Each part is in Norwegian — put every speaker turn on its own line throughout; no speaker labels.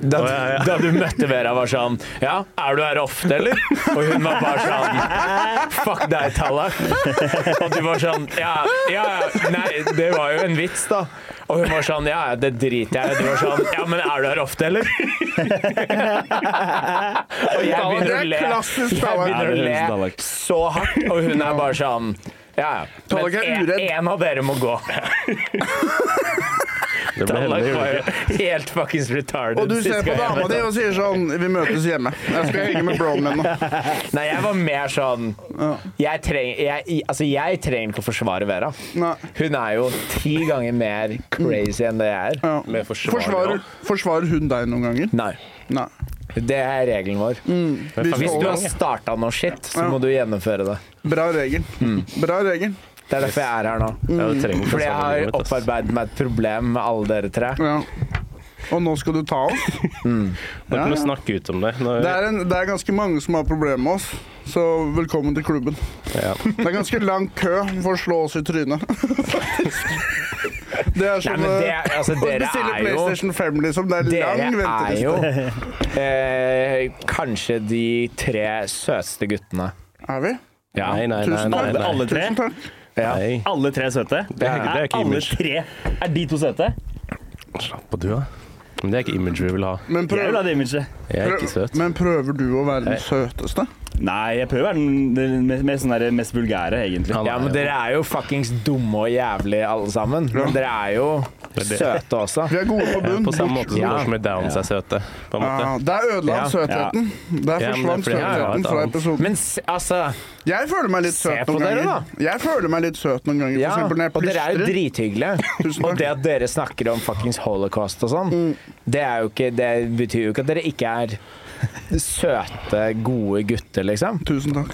da,
Å, ja, ja.
da du møtte Vera, var sånn Ja, er du her ofte, eller? Og hun var bare sånn Fuck deg, Tallak. Og du var sånn Ja, ja, ja, nei, det var jo en vits, da. Og hun var sånn Ja, ja, det driter jeg i. Og du var sånn Ja, men er du her ofte, eller? Og jeg begynner å le.
Klassisk
Jeg
Tallak.
begynner å le så hardt, og hun er bare sånn Ja, ja.
Tallak er
Men en,
uredd.
en av dere må gå.
Det ble
Tallak
heldig,
var
gjorde det
jo helt fuckings retarded.
Og du
sist
ser på
gang jeg
dama
møtte
di
henne.
og sier sånn Vi møtes hjemme. Jeg skal henge med broen min nå.
Nei, jeg var mer sånn Jeg trenger jeg, altså, jeg trenger ikke å forsvare Vera.
Nei.
Hun er jo ti ganger mer crazy enn det jeg er.
Ja.
Med forsvarer
Forsvarer, forsvarer hun deg noen ganger?
Nei.
Nei.
Det er regelen vår.
Vi
Hvis du
skal,
har starta noe shit, så
Mm. Ja.
må du gjennomføre det.
bra regel. Bra regel.
Det er derfor jeg er her nå.
Ja, du trenger ikke
Fordi
å
jeg
savne livet
har
mitt, ass.
opparbeidet meg et problem med alle dere tre.
Ja. Og nå skal du ta oss?
Nå
Ja,
kan
ja.
du snakke ut om det. Nå,
Det er, en, det er ganske mange som har problemer med oss, så velkommen til klubben.
ja.
Det er ganske lang kø for å slå oss i trynet. Det er
Nei,
som
men det,
eh,
altså,
å
dere
bestille
er jo
PlayStation 5, liksom. Det er
Dere
lang
er jo
venteliste.
eh, kanskje de tre søteste guttene.
Er vi?
Ja.
Nei, nei, nei.
Tusen
nei,
takk.
nei.
Alle tre?
Tusen takk.
Ja.
nei.
Alle tre søte?
Det er, det er ikke
Alle
image.
tre? Er de to søte?
Slapp av, du, da. Men det er ikke image vi vil ha.
Men,
Jeg vil
prøv,
ha det imaget.
Jeg er ikke søt.
men prøver du å være den søteste?
Nei, jeg prøver å være den- den mest, mest, sånn der, mest vulgære, egentlig.
Han
Ja, men
er jo-
dere er jo fuckings dumme og jævlige alle sammen. Men dere er jo søte også.
Vi er gode på bunn.
På samme måte som
Ja.
når som er downs er søte. På en måte.
Ja, der ødela han
Ja.
søtheten. Der
Ja, men det er
forsvant
fordi jeg har
søtheten
et
fra
annet.
episoden.
Men s- altså
Jeg føler meg litt
Se
søt
på
noen
dere,
ganger. Jeg føler meg litt søt noen ganger. For
Ja,
eksempel når jeg
og dere er jo
plystrer.
drithyggelige.
Tusen
Og det
takk.
at dere snakker om fuckings holocaust og sånn, det, er jo ikke, det betyr jo ikke at dere ikke er søte, gode gutter, liksom.
Tusen takk.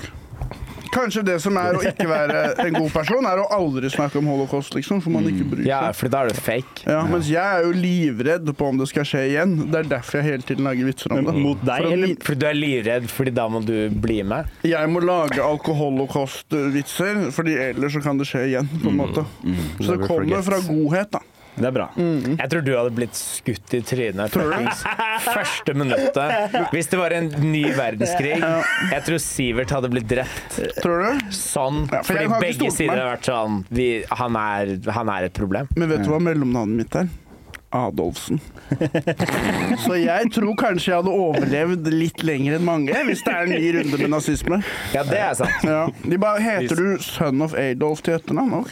Kanskje det som er å ikke være en god person, er å aldri snakke om holocaust, liksom. For man ikke bryr
Ja,
seg.
for da er det fake.
Ja, mens jeg er jo livredd på om det skal skje igjen. Det er derfor jeg hele tiden lager vitser om det.
Men mot deg,
For å
eller-
li-
For du er livredd, fordi da må du bli med.
Jeg må lage alkoholocaust-vitser, Fordi ellers så kan det skje igjen, på en måte. Så
Never
det kommer
forget.
fra godhet, da.
Det er bra.
Mm.
Jeg tror du hadde blitt skutt i trynet fuckings første minuttet. Hvis det var en ny verdenskrig. Jeg tror Sivert hadde blitt drept
Tror du?
sånn.
Ja, for
Fordi
jeg har ikke
begge
stolt på meg.
sider har vært sånn vi, han, er, han er et problem.
Men vet du hva mellomnavnet mitt er? Adolfsen. Så jeg tror kanskje jeg hadde overlevd litt lenger enn mange hvis det er en ny runde med nazisme.
Ja, det er sant.
Ja. De bare Heter du Son of Adolf til etternavn? OK,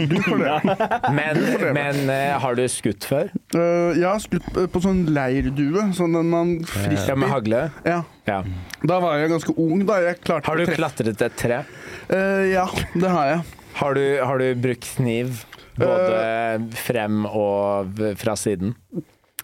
du får det.
Men, men eh, har du skutt før?
Uh, jeg har skutt uh, på sånn leirdue, sånn den man
Ja, med
frisbee.
hagle?
Ja.
Ja.
Da var jeg ganske ung, da. Jeg klarte
Har du
å treffe-
klatret et tre?
Uh, ja, det har jeg.
Har du, har du brukt kniv? Både
Øh.
frem og v- fra siden?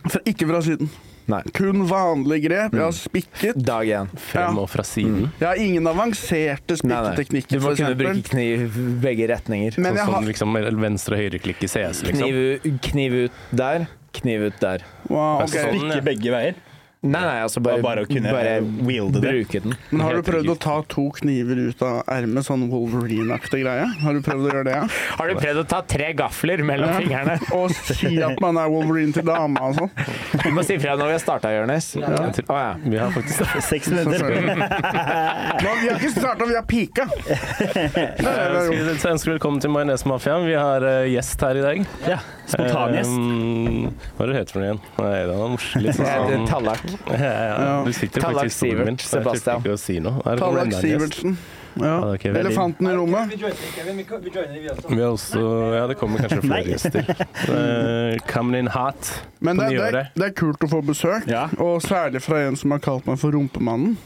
Fra, ikke fra siden.
Nei.
Kun vanlige grep.
Mm.
Jeg har spikket.
Dag én.
Frem og fra siden.
Jeg har ingen avanserte
Nei, nei. Du
spikketeknikker,
må
for
kunne bruke
eksempel.
kniv begge retninger.
Men
Sånn
jeg
som
har
liksom venstre- og høyreklikk i CS, liksom.
Kniv, kniv ut der, kniv ut der.
wow, ok.
Sånn, ja.
Ikke begge veier.
Nei, nei, altså
Det
bare,
var bare å kunne
bare
wielde det.
bruke den.
Men har du
Helt
prøvd å
enkelt.
ta to kniver ut av ermet, sånn Wolverine-aktig greie? Har du prøvd å gjøre det? ja?
Har du prøvd å ta tre gafler mellom fingrene?
Og si at man er Wolverine til dama og sånn?
Du må si fra når vi har starta, Jonis. Å ja.
Vi har faktisk
Seks
Så
minutter.
sorry. Nå, vi har ikke starta, vi har pika! Det er det
Jeg
jo.
ønsker- ønsker velkommen til Majones-mafiaen. Vi har eh, gjest her i dag.
Ja, Spontangjest.
Eh, hva er det du heter for noe igjen? Nei, det var morsomt. Litt
Jeg heter
sånn
Tallak.
Ja, ja, Du sitter
Tallak
faktisk på stolen min.
Sivert,
så Jeg turte
Sebastian.
ikke å si noe. Her kommer
Tallak
enda en gjest.
Sivertsen. Ja.
Ja, ok, veldig.
Elefanten i rommet.
Vi joiner ikke, Kevin. Vi ko- Vi joiner, vi også.
Vi har også Ja, det kommer kanskje flere gjester. Eh, coming in hot.
Men det,
På
det,
nyåret.
det er kult å få besøk,
Ja.
og særlig fra en som har kalt meg for Rumpemannen.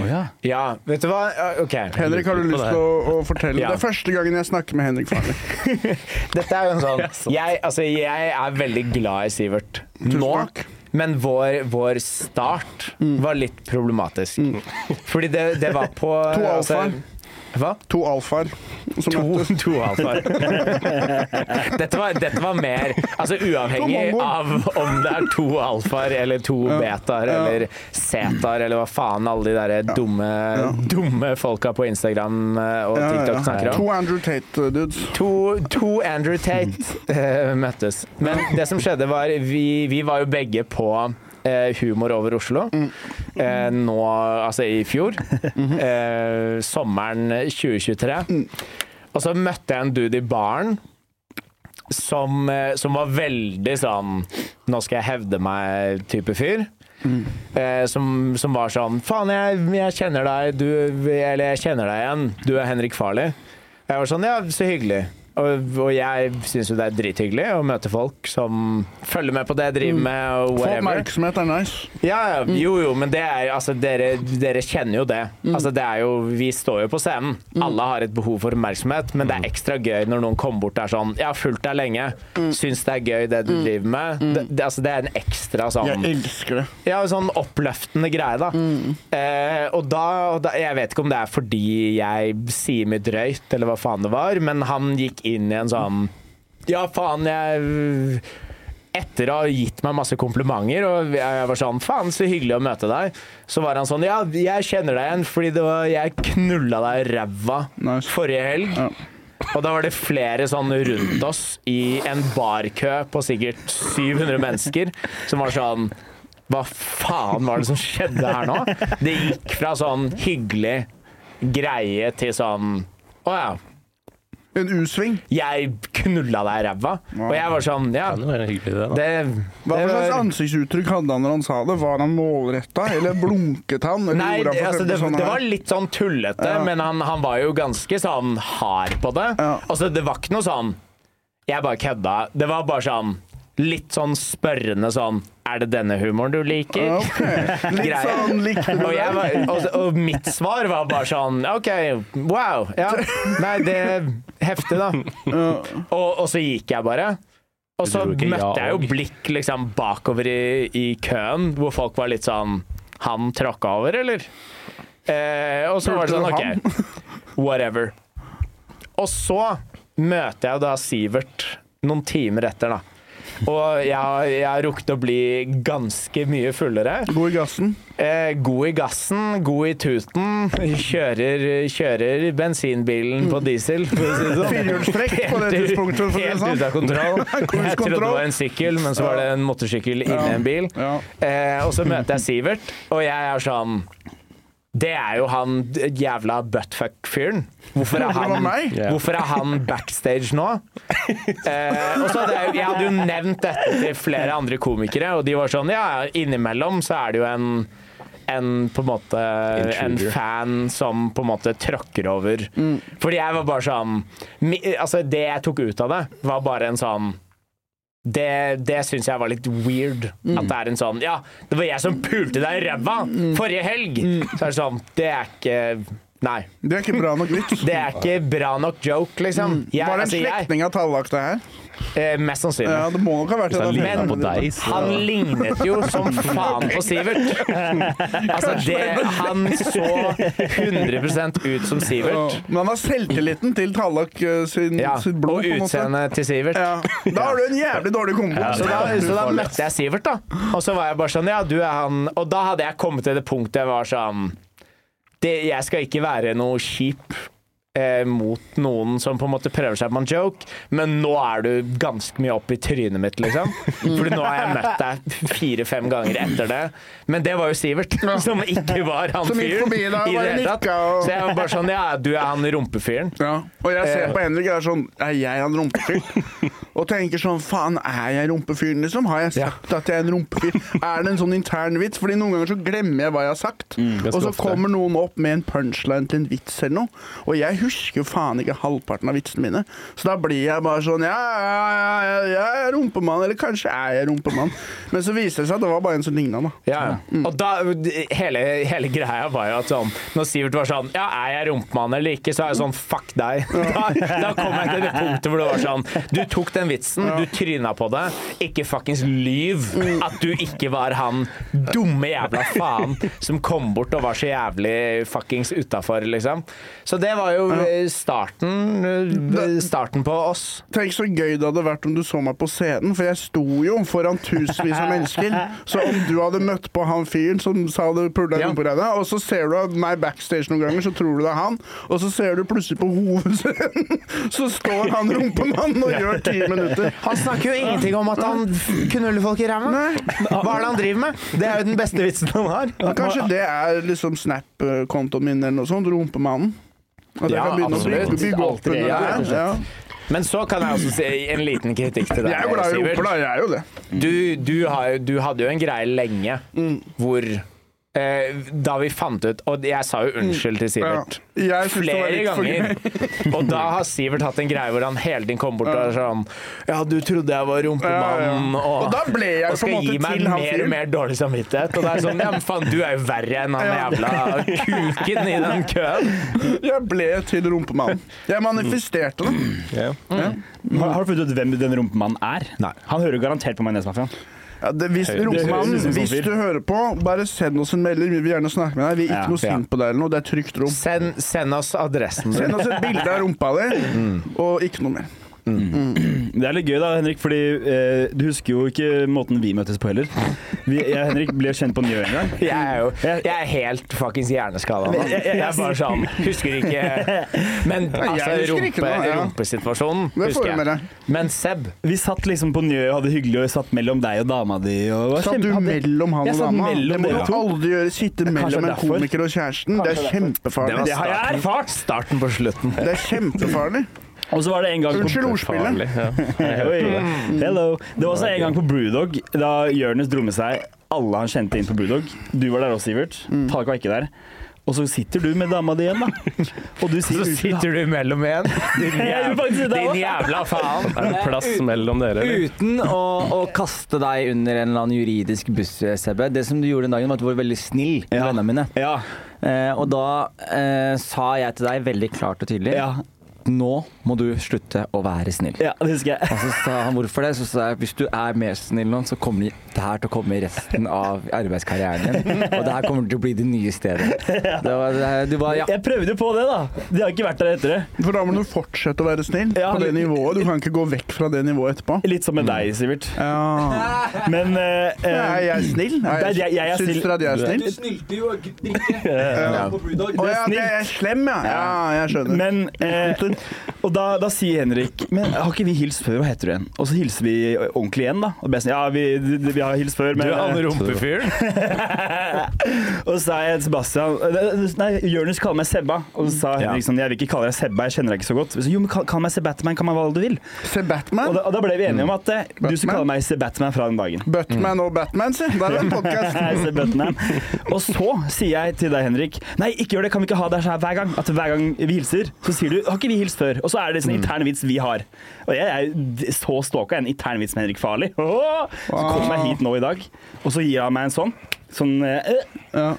Å ja.
Ja, vet du hva? Ja, OK.
Henrik, har du
På
lyst
det
til å, å fortelle?
Ja.
Det er første gangen jeg snakker med Henrik Farley.
Dette er jo en sånn Jeg, altså, jeg er veldig glad i Sivert nå.
takk.
Men vår, vår start var litt problematisk. Fordi det, det var på
To
altså,
alfaer.
Hva?
To alfaer som
To,
møttes.
to alfaer. Dette var, dette var mer Altså uavhengig
To
av
mongoer.
om det er to alfaer eller to betaer
ja.
eller zetaer eller hva faen alle de derre dumme, dumme folka på Instagram eh, og
Ja, ja,
TikTok
ja.
snakker om.
To Andrew uh, Tate-dudes.
To, to Andrew Tate eh, møttes. Men det som skjedde, var vi, vi var jo begge på eh, humor over Oslo
Mm.
eh, nå, altså i fjor, eh, sommeren 2023. Og så møtte jeg en dude i baren som, eh, som var veldig sånn Nå skal jeg hevde meg-type fyr. Eh, som, som var sånn Faen, jeg, jeg kjenner deg, du Eller jeg kjenner deg igjen. Du er Henrik Farley. Jeg var sånn Ja, så hyggelig. Og, og jeg syns jo det er drithyggelig å møte folk som følger med på det jeg driver med. Og
Få
whatever.
oppmerksomhet er nice.
Ja, ja, jo, jo, men det er, altså, dere, dere kjenner jo det. Altså, det er jo, vi står jo på scenen. Alle har et behov for oppmerksomhet, men det er ekstra gøy når noen kommer bort og er sånn Jeg har fulgt deg lenge, syns det er gøy det du driver med. Det, det, altså, det er en ekstra sånn
Jeg elsker det.
ja, sånn oppløftende greie, da. Eh, og da, og da Jeg vet ikke om det er fordi jeg sier mye drøyt, eller hva faen det var, men han gikk inn i en sånn Ja, faen, jeg Etter å ha gitt meg masse komplimenter, og jeg var sånn Faen, så hyggelig å møte deg. Så var han sånn Ja, jeg kjenner deg igjen, fordi det var, jeg knulla deg i ræva
Nice.
forrige helg.
Ja.
Og da var det flere sånn rundt oss i en barkø på sikkert 700 mennesker som var sånn Hva faen var det som skjedde her nå? Det gikk fra sånn hyggelig greie til sånn Å ja,
En U-sving.
jeg knulla deg i ræva. Og jeg var sånn Ja,
Det var en hyggelig idé, da.
det,
Hva
det
slags
var
ansiktsuttrykk hadde han når han sa det? Var han målretta, eller blunket han? Eller
Nei,
gjorde han for
altså det,
eksempel sånn
det
her?
var litt sånn tullete,
Ja.
men han, han var jo ganske sånn hard på det.
Ja.
Altså, det var ikke noe sånn Jeg bare kødda. Det var bare sånn litt sånn spørrende sånn Er det denne humoren du liker?
Ja, ok. Litt
Greie.
sånn likte du
Og, jeg var, og, og mitt svar var bare sånn OK, wow. Ja. Nei, det er heftig, da. Og, og så gikk jeg bare. Og så
Du dro ikke ja
møtte jeg jo
og.
blikk liksom bakover i, i køen, hvor folk var litt sånn Han tråkka over, eller? Eh, og så var det sånn
Hørte du
OK, whatever. Og så møter jeg da Sivert noen timer etter, da. Og jeg, har- jeg har rukket å bli ganske mye fullere.
God i gassen.
Eh, god i gassen, god i tuten. Kjører, kjører bensinbilen på diesel. for å si det sånn.
Firehjulstrekk på det
Helt ut-
tidspunktet, for å si det
Helt
sånn.
ute av kontroll. Jeg trodde det
kontroll.
var en sykkel, men så var det en motorsykkel inni en bil.
Ja.
Eh, og så møter jeg Sivert, og jeg er sånn Det er jo han d- jævla buttfuck-fyren. Hvorfor er
Det var
han
meg.
Ja.
Hvorfor er han backstage nå? Eh, og så hadde jeg, jeg hadde jo nevnt dette til flere andre komikere, og de var sånn Ja, innimellom så er det jo en, en på en måte En
Intruder.
fan som på en måte tråkker over.
Mm.
Fordi jeg var bare sånn mi, Altså, det jeg tok ut av det, var bare en sånn det, det syns jeg var litt weird.
Mm.
At det er en sånn Ja, det var jeg som pulte deg i ræva forrige helg!
Mm.
Så er det sånn Det er ikke Nei.
Det er ikke bra nok vits. Mm.
Det er ikke bra nok joke, liksom. Jeg,
Var det en
altså, jeg,
slektning av Tallak, det her?
eh, mest sannsynlig.
Ja, det må nok ha vært
Liksom
Hvis
det.
han
da.
ligner på
Han lignet
deg, så
jo som faen på Sivert. Altså, det, han så 100 ut som
Ja.
Sivert.
Men han har selvtilliten til Tallak eh, sin,
Ja,
sitt
og
blod, på en måte.
utseendet til Sivert.
Ja. Da har du en jævlig dårlig kombo.
Så da, så da møtte jeg Sivert, da. Og så var jeg bare sånn, ja, du er han Og da hadde jeg kommet til det punktet jeg var sånn det, Jeg skal ikke være noe kjip eh, mot noen som på en måte prøver seg på en joke, men nå er du ganske mye opp i trynet mitt, liksom.
Mm.
Fordi nå har jeg møtt deg fire-fem ganger etter det. Men det var jo Sivert, som ikke var han
Som gikk
fyren.
forbi deg og
i det
bare
hele tatt.
nikka og-
Så jeg var bare sånn, ja, du er han rumpefyren.
Ja. Og jeg ser
Eh.
på Henrik og er sånn Er jeg han rumpefyren? Og tenker sånn Faen, er jeg rumpefyren, liksom? Har jeg sagt at jeg er en rumpefyr? Er det en sånn intern vits? Fordi noen ganger så glemmer jeg hva jeg har sagt. og så
ofte.
kommer noen opp med en punchline til en vits eller noe. Og jeg husker jo faen ikke halvparten av vitsene mine. Så da blir jeg bare sånn Ja, ja, ja, ja, jeg er rumpemann. Eller kanskje er jeg rumpemann. Men så viser det seg at det var bare en som ligna, da.
Ja, ja. Og da, hele, hele greia var jo at sånn Når Sivert var sånn Ja, er jeg rumpemann eller ikke? Så er jeg sånn Fuck deg. Da, da kom jeg til det punktet hvor det var sånn Du tok den vitsen, du tryna på det. Ikke fuckings lyv at du ikke var han dumme jævla faen som kom bort og var så jævlig fuckings utafor, liksom. Så det var jo eh, starten eh, Starten på oss.
Tenk så gøy det hadde vært om du så meg på scenen, for jeg sto jo foran tusenvis av mennesker. Så om du hadde møtt på han fyren som sa du pula
Ja.
ja. på deg, og så ser du at meg backstage noen ganger, så tror du det er han, og så ser du plutselig på hovedscenen, så står han rumpemannen og gjør ti minutter.
Han snakker jo ingenting om at han knuller folk i ræva. Hva er det han driver med? Det er jo den beste vitsen han har.
Ja, Kanskje det er liksom Snap-kontoen min eller noe sånt. Rumpemannen. At jeg
Ja,
kan begynne
absolutt.
å bygge, bygge opp
Alltid,
under
ja, rett og
det. Ja.
slett.
Men så kan jeg også si en liten kritikk til deg,
Jeg er jo glad i
Sivert.
rumper, da. Jeg er jo det.
Du, du, har, du hadde jo en greie lenge
Mm.
hvor eh, Da vi fant ut Og jeg sa jo unnskyld til
Ja.
Sivert.
Jeg synes det var
Flere
litt for
ganger. Og da har Sivert hatt en greie hvor han hele tiden kom bort og er sånn Ja, du trodde jeg var rumpemannen,
Ja, ja. Og da ble jeg
og
på en
skal
måte
gi meg
til han
mer og
fyren.
mer dårlig samvittighet. Og det er sånn Ja, men faen, du er jo verre enn han
Ja.
jævla kuken i den køen.
Jeg ble til rumpemannen. Jeg manifesterte det.
Ja.
Har, har du funnet ut hvem den rumpemannen er?
Nei.
Han hører garantert på Majonesmafiaen.
Ja, det hvis
Høy.
Det
rumpemannen,
høres ut som
hvis
sånn
du hører på, bare send oss en melding. Vi vil gjerne snakke med deg. Vi er
Ja,
ikke noe
ja.
sint på deg eller noe. Det er trygt rom.
Send, send oss adressen din.
Send oss et bilde av rumpa di, og ikke noe mer.
Det er litt gøy da, Henrik, fordi eh, du husker jo ikke måten vi møttes på heller. Vi, jeg og Henrik ble jo kjent på Njø en gang.
Jeg er jo jeg er helt fuckings hjerneskada nå. Jeg er bare sånn Husker ikke Men altså,
jeg husker ikke
rumpe,
noe, ja.
rumpesituasjonen
får
husker
du med
jeg.
deg.
Men Seb
Vi satt liksom på Njø og hadde det hyggelig, og jeg satt mellom deg og dama di. Og det var
Satt du
kjempe-
mellom han
Jeg
og
satt
dama? Det må
mellom
du
dere to.
aldri gjøre. Sitte mellom en
derfor.
komiker og kjæresten. Det er
Det var
kjempefarlig.
har jeg
starten, starten på slutten.
Det er kjempefarlig.
Og så var det en gang på
Unnskyld ordspillet.
Farlig. Ja.
Oi. Hello. Det var også en gang på Brewdog, da Jonis dro med seg alle han kjente inn på Brewdog. Du var der også, Sivert.
Mm.
Tallak var ikke der. Og så sitter du med dama di igjen, da. Og du sier
Så sitter du imellom igjen. Din jævla,
Jeg gjorde faktisk det
din
også.
jævla faen.
Er det plass mellom dere, eller?
Uten å, å kaste deg under en eller annen juridisk buss, Sebbe. Det som du gjorde den dagen, var at du var veldig snill med
Ja.
vennene mine.
Ja.
Eh, og da eh, sa jeg til deg veldig klart og tydelig
ja.
Nå må du slutte å være snill.
Ja, det husker jeg.
Og så sa han hvorfor det. Så sa jeg hvis du er mer snill nå, så kommer det her til å komme i resten av arbeidskarrieren din. Og det her kommer til å bli det nye stedet. Det var, det var, ja.
Jeg prøvde jo på det, da. De har ikke vært der etter det.
For da må du fortsette å være snill
Ja.
på det nivået. Du kan ikke gå vekk fra det nivået etterpå.
Litt
Mm.
som med deg, Sivert.
Ja.
Men eh, eh,
Er jeg snill? Er
Nei, jeg- jeg er
syns
snill.
dere at jeg er
Du
snill?
snylte jo og drikke. Ja. På Brewdog.
Å
Det
ja, at jeg er slem, ja. Ja, jeg skjønner.
Men eh, Og da, da sier Henrik Men har ikke vi hilst før? Hva heter du igjen? Og så hilser vi ordentlig igjen, da. Og best, ja, vi, vi har hilst før,
Du
men eh,"
er han rumpefyren.
Og så sa jeg Sebastian Nei, Jonis kaller meg Sebba. Og så sa Henrik sånn Jeg vil ikke kalle deg Sebba, jeg kjenner deg ikke så godt. Så, jo, men kall, kall meg Sebatman, kall meg hva du vil.
Se
Og
Batman.
da, og da ble vi enige om at eh, du skal
Batman?
kalle meg Sebatman fra den dagen.
Buttman og Batman, si. Der er en podkast.
Jeg er Sebatman. Og så sier jeg til deg, Henrik Nei, ikke gjør det, kan vi ikke ha det her hver gang? At hver gang vi hilser, så sier du Har ikke vi hilst før? Og så er det sånn intern vits vi har. Og jeg er jo så stalka, en intern vits med Henrik Farley. Åh! Så kommer jeg hit nå i dag, og så gir han meg en sånn. Sånn eh,
Ja.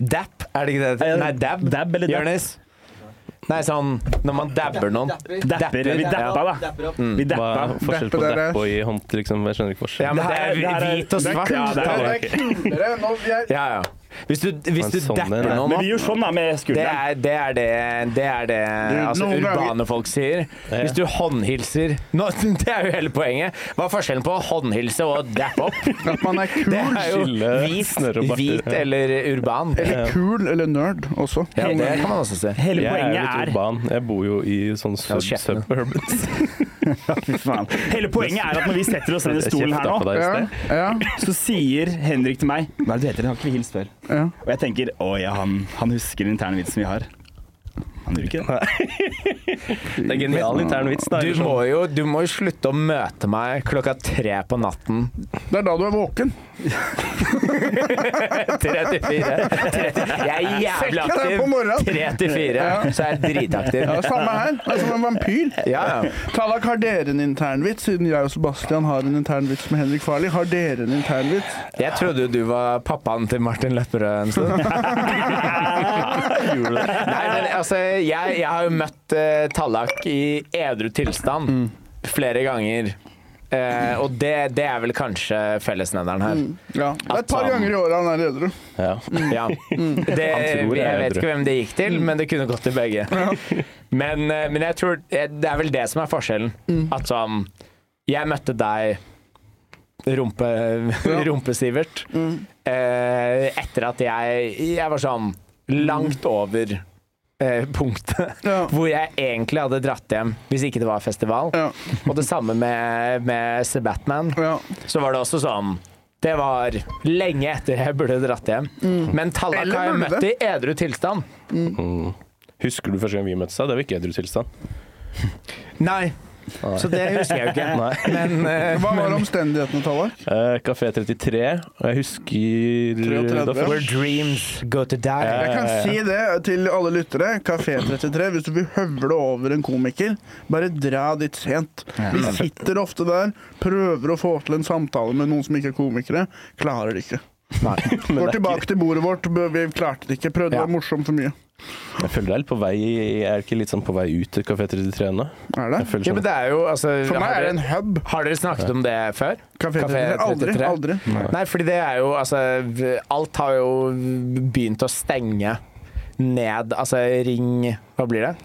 Dab, er det ikke det? Nei, dab.
Dab eller dab?
Jonis? Nei, sånn når man dabber noen.
Dapper.
Dapper. Vi
Ja.
dappa, da.
Dapper opp.
Vi
Hva
dappa.
er forskjell på
Dappe dere.
dapp og i hånd, liksom? Jeg skjønner ikke
Ja,
forskjell.
men det
Det her-
er
det her er-
hvit og
Det er
svart.
Ja,
kulere.
det er
Det er kulere. Nå, jeg,
Ja, ja. Hvis du, hvis
Men
du
sånn er
dapper
det.
noen
Men
opp
vi gjør sånn da, med
Det
skulderen.
er det, er det, det, er det altså,
noen ganger-
urbane folk sier. Hvis du håndhilser nå, Det er jo hele poenget. Hva er forskjellen på å håndhilse og å dappe opp?
at man er kul.
Det er jo
Skille snørr
hvit,
og barter.
hvit eller urban.
Eller kul eller nerd også.
Ja, det kan man også si.
Hele
Jeg er jo litt
poenget er,
urban. Jeg bor jo i sånn
Ja,
sub
kjeften.
suburbs.
Fy faen. Hele poenget er at når vi setter oss ned i
Jeg
stolen her
kjefta på
nå,
deg i
Ja,
sted.
ja,
så sier Henrik til meg Hva er det du heter? Har ikke vi hilst før?
ja.
Og jeg tenker å ja, han, han husker den interne vitsen vi har. Han gjør ikke det.
Det er genial intern vits, da.
Du
eller sånn.
må, jo, du må jo slutte å møte meg klokka tre på natten.
Det er da du er våken.
Tre til fire. Tre til- Jeg er jævlig
Sjekk deg på
aktiv.
morgenen.
Tre til fire, så jeg er
Ja,
dritaktiv.
samme her. Det er som en vampyr.
Ja, ja.
Tallak, har dere en internvits? Siden jeg og Sebastian har en internvits med Henrik Farley, har dere en internvits?
Jeg trodde jo du var pappaen til Martin Lepperød en stund. Gjorde du det? Nei, men altså, jeg, jeg har jo møtt eh, Tallak i edru tilstand flere ganger. Eh, og det, det er vel kanskje fellesnevneren her.
Ja. Det er et par
At han-
ganger i året han er edru.
sånn. Ja.
Ja. Det, jeg
tror jeg er
vet
edru.
ikke hvem det gikk til, men det kunne gått til begge. Men, eh, men jeg tror eh, det er vel det som er forskjellen. At sånn Jeg møtte deg, rumpe, Rumpe-Sivert, eh, etter at jeg Jeg var sånn langt over eh, punktet
Ja.
hvor jeg egentlig hadde dratt hjem hvis ikke det var festival.
Ja.
Og det samme med, med The Batman.
Ja.
Så var det også sånn Det var lenge etter jeg burde dratt hjem. Men Tallak
Eller
har jeg
burde.
møtt i edru tilstand.
Husker du første gang vi møttes? da? Det var ikke edru tilstand.
Nei. Så det husker jeg jo ikke.
Nei.
Men eh,
Hva var omstendighetene, Tallak?
Kafé 33, Eh, og jeg husker
33,
da fikk-
Where dreams go to die. Eh,
Jeg kan si det til alle lyttere. Kafé 33, hvis du vil høvle over en komiker, bare dra dit sent. Vi sitter ofte der, prøver å få til en samtale med noen som ikke er komikere. Klarer det ikke.
Nei.
Går tilbake til bordet vårt. Vi klarte det ikke. Prøvde
Ja.
å være morsom for mye.
Jeg føler det er litt på vei Jeg er ikke litt sånn på vei ut til Kafé 33 ennå.
Er det?
Jeg føler
Ja, men
sånn
det er jo altså
For meg
har
er det en
dere-
hub.
Har dere snakket om det før?
Kafé 33. Aldri. aldri.
Nei, fordi det er jo altså v- Alt har jo begynt å stenge ned. Altså Ring Hva blir det?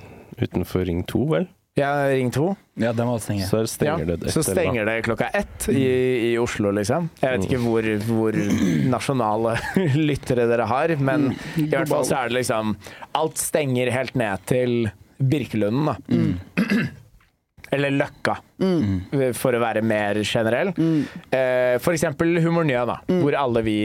sånn utenfor Ring 2, vel?
Ja, Ring 2.
Ja, den var stenge.
Så stenger
ja.
det et
Så
eller annet.
stenger det klokka ett i, i Oslo, liksom. Jeg vet ikke hvor, hvor nasjonale lyttere dere har, men i hvert fall så er det liksom Alt stenger helt ned til Birkelunden, da. Eller Løkka, eh, for å være mer generell. Eh, for eksempel Humornø, da, hvor alle vi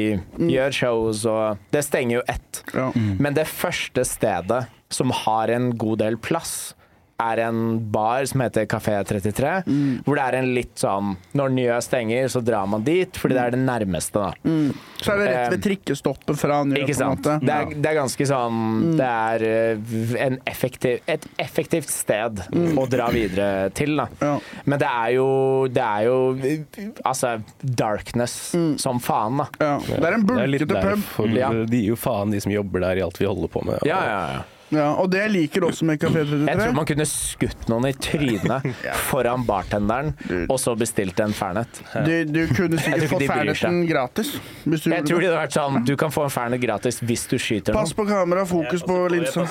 gjør shows og Det stenger jo ett.
Ja.
Men det første stedet som har en god del plass, er en bar som heter Kafé 33.
Mm.
Hvor det er en litt sånn Når Njø stenger, så drar man dit, fordi det er det
Mm.
nærmeste, da.
Så er det rett ved trikkestoppet fra Njø,
Ikke
på en
sant?
måte. Mm.
Det er, det er ganske sånn Det er eh, en effektiv, et effektivt sted å dra videre til, da.
Mm. Ja.
Men det er jo Det er jo Altså, darkness
Mm.
som faen, da.
Ja. Det er en
Det er litt
bulkete pub.
derfor
Ja.
De gir jo faen, de som jobber der, i alt vi holder på med.
Ja, ja, ja.
Ja, og det jeg liker også med Kafé 33.
Jeg tror man kunne skutt noen i trynet foran bartenderen, og så bestilt en fernet.
Du, du kunne
tror
sikkert
ikke
fått
de bryr seg.
ferdigheten gratis. Hvis du
Jeg
gjorde
tror
det.
det hadde vært sånn Du kan få en fernet gratis hvis du skyter
Pass
noen.
på kamera, fokus på linsa.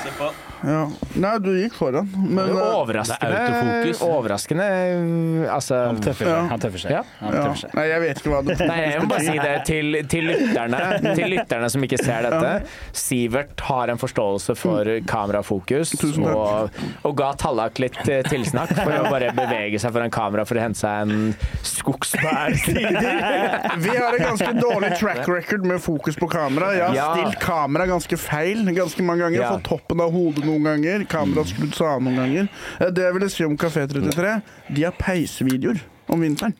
Ja. Nei, du gikk foran, men eh,
Overraskende
autofokus.
Overraskende Altså
Han tøffer seg. Han tøffer seg.
Ja.
Han
ja.
tøffer seg.
Nei, jeg vet ikke hva det
Nei, jeg må bare si det til, til, lytterne, til lytterne som ikke ser dette. Sivert har en forståelse for kamerafokus
Tusen takk.
og, og ga Tallak litt eh, tilsnakk for å bare bevege seg foran kamera for å hente seg en skogsbærsider.
Vi har en ganske dårlig track record med fokus på kamera. Jeg har
Ja.
stilt kamera ganske feil ganske mange ganger.
Ja.
Fått toppen av hodet noen ganger. Kamera skrudd seg av noen ganger. Eh, Det jeg ville si om Kafé 33, de har peisvideoer om vinteren.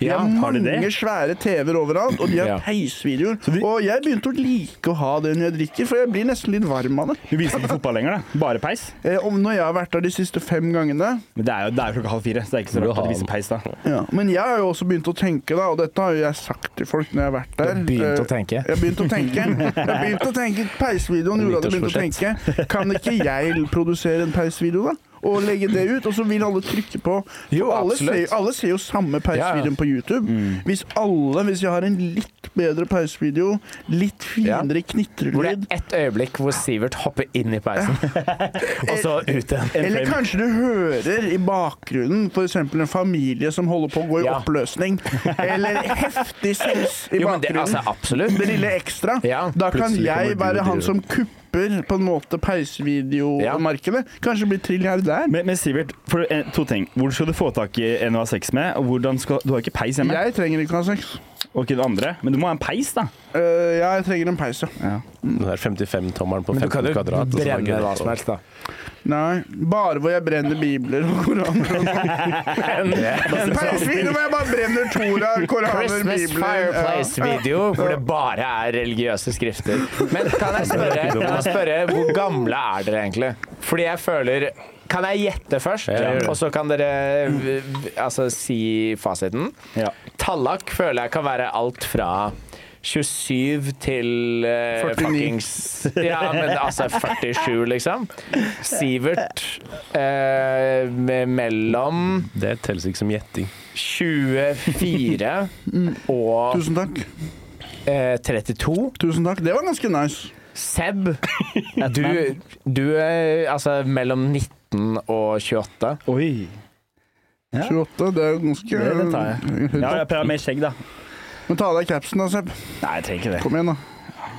De
Ja,
har
har de
mange
det?
svære TV-er overalt, og de har
Ja.
peisvideoer. Og jeg begynte å like å ha det når jeg drikker, for jeg blir nesten litt varm av det.
Du viser ikke fotball lenger, da. Bare peis.
Eh, Om når jeg har vært der de siste fem gangene,
Men det er jo det er jo klokka halv fire, så det er ikke så
Burde
rart
ha
at de
den.
viser peis da.
Ja, men jeg har jo også begynt å tenke, da, og dette har jo jeg sagt til folk når jeg har vært der.
Begynte
Eh,
å tenke.
Jeg begynte å tenke. Jeg begynte å tenke Peisvideoen gjorde at jeg begynte å tenke. Kan ikke jeg produsere en peisvideo, da? Og legge det ut, og så vil alle trykke på. For
Jo,
alle, ser,
absolutt. Mm.
alle ser jo samme peisvideoen på YouTube. Hvis alle, hvis jeg har en litt bedre peisvideo, litt finere
Hvor det
knitrelyd
er ett øyeblikk hvor Sivert hopper inn i peisen, og så ut igjen.
Eller kanskje du hører i bakgrunnen f.eks. en familie som holder på å gå i
Ja.
oppløsning. Eller heftig sus i
Jo, men det,
bakgrunnen.
altså, absolutt.
det lille ekstra.
Ja.
da kan
Plutselig kommer
jeg
du
være
og
han
driver.
som kupper på en måte
Ja.
peisvideomarkedet. Kanskje bli trilliardær.
Men, men Sivert, for eh, to ting. Hvor skal du få tak i en du har sex med? Og hvordan skal Du har ikke peis hjemme?
Jeg trenger ikke å ha sex.
Og ikke det andre. Men du må ha en peis, da.
Øh, ja, jeg trenger en peis, ja.
Den der 55-tommeren på
Men du
15
kan jo
kvadrat. og så bare
brenne
gønne
hva
på.
som helst, da.
Nei. Bare hvor jeg brenner bibler og koraner. Peisvideo hvor jeg bare brenner Tora, koraner,
Christmas
bibler Ja.
Fireplace-video hvor det bare er religiøse skrifter. Men kan jeg spørre, kan jeg spørre hvor gamle er dere egentlig? Fordi jeg føler Kan jeg gjette først,
Ja, gjør det.
og så kan dere v- v- altså, si fasiten?
Ja.
Tallak føler jeg kan være alt fra 27 til eh,
49.
fuckings Ja, men altså 47, liksom. Sivert eh, med mellom
Det telles ikke som gjetting.
24 og
Tusen takk.
eh, 32.
Tusen takk. Det var ganske nice.
Seb, du, du er altså mellom 19 og 28.
Oi.
28, det er jo ganske
Det, det tar jeg. Ja, jeg prøver mer skjegg, da.
Men ta av deg capsen da, Sepp.
Nei, jeg trenger ikke det.
Kom igjen, da.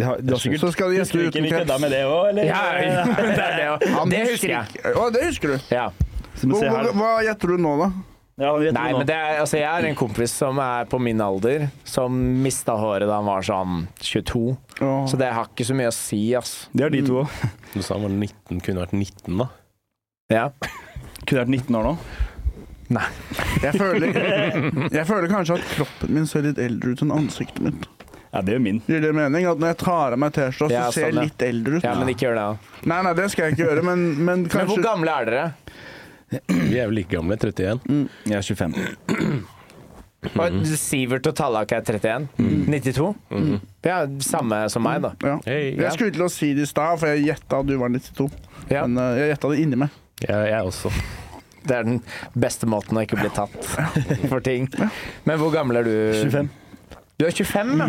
De har, de har sikkert
Så skal de gjette
Husker ikke
uten
vi kødda
kreps.
med det òg, eller?
Ja, ja, men det er det òg.
Han
Det husker jeg.
ikke- Å, det husker du.
Ja.
Så må vi
Hvor,
se her,
hvor,
da.
hva gjetter du nå, da?
Ja, vi vet
Nei,
det nå.
men det er, altså, jeg har en kompis som er på min alder, som mista håret da han var sånn 22.
Å.
Så det har ikke så mye å si, ass.
det har de to òg.
Du sa han var 19, kunne vært 19 da.
Ja.
Kunne vært 19 år nå.
Jeg føler, jeg føler kanskje at kroppen min ser litt eldre ut enn ansiktet mitt.
Ja, det gjør min.
Gir det mening? At når jeg tar av meg T-skjorta, så
Ja,
ser jeg
sånn, ja.
litt eldre ut?
ja, men ikke gjør det. da.
Nei, nei, det skal jeg ikke gjøre, men, men
Men hvor
kanskje
gamle er dere?
Vi er vel like gamle, 31.
Jeg er 25.
Og Sivert og Tallak er 31. 92. Ja, samme som meg, da.
ja.
Hei.
Jeg skulle til å si det i stad, for jeg gjetta at du var 92.
Ja.
Men eh, jeg gjetta det inni meg.
Jeg, jeg også.
Det er den beste måten å ikke bli tatt for ting. Men hvor gammel er du?
25.
Du er 25, ja.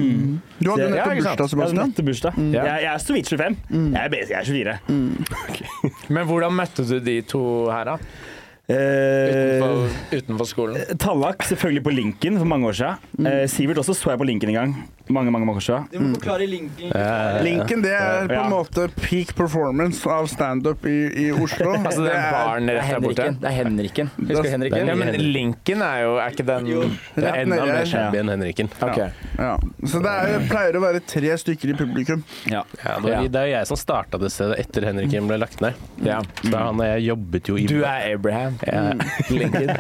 Du hadde jo
Ja, ikke sant.
nettopp bursdag,
Jeg hadde
Sebastian.
natt til bursdag.
Ja.
Mm. Jeg, jeg er så vidt 25. Jeg, er, bes- jeg er 24.
Men hvordan møtte du de to her, da?
Eh,
Utenfor, utenfor skolen?
Tallak selvfølgelig på Linken for mange år siden. Eh, Sivert også så jeg på Linken en gang. Mange, mange, mange år siden.
Du må forklare linken.
Linken det er på
Ja.
en måte peak performance av standup i, i Oslo.
Altså den baren
Det er
rett der borte?
Henriken. Det er Henriken. Husker du Henriken?
Ja, men Linken er jo Er ikke den
Jo.
det er
Rett
enda
nedi
mer
her.
skjedd.
Shabby enn Henriken.
Ok.
ja. Så det er, pleier å være tre stykker i publikum.
Ja.
Ja, det, var, det er jo jeg som starta det stedet etter Henriken ble lagt ned.
Ja.
Så da han og jeg jobbet jo i
Du er Abraham.
Ja.
Lincoln.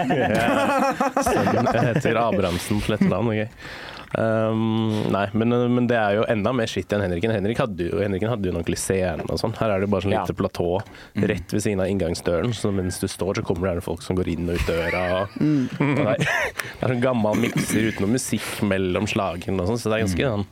Sorry, Jeg heter Abrahamsen på Letteland. ok. Um, nei, men, men det er jo enda mer skitt enn Henriken. Henrik hadde jo, Henriken hadde jo en ordentlig scene og sånn. Her er det bare sånn
Ja.
lite platå rett ved siden av inngangsdøren, så mens du står, så kommer det gjerne folk som går inn og ut døra. Og, og det, er, det er sånn gammel mikser uten noe musikk mellom slagene og sånn, så det er ganske sånn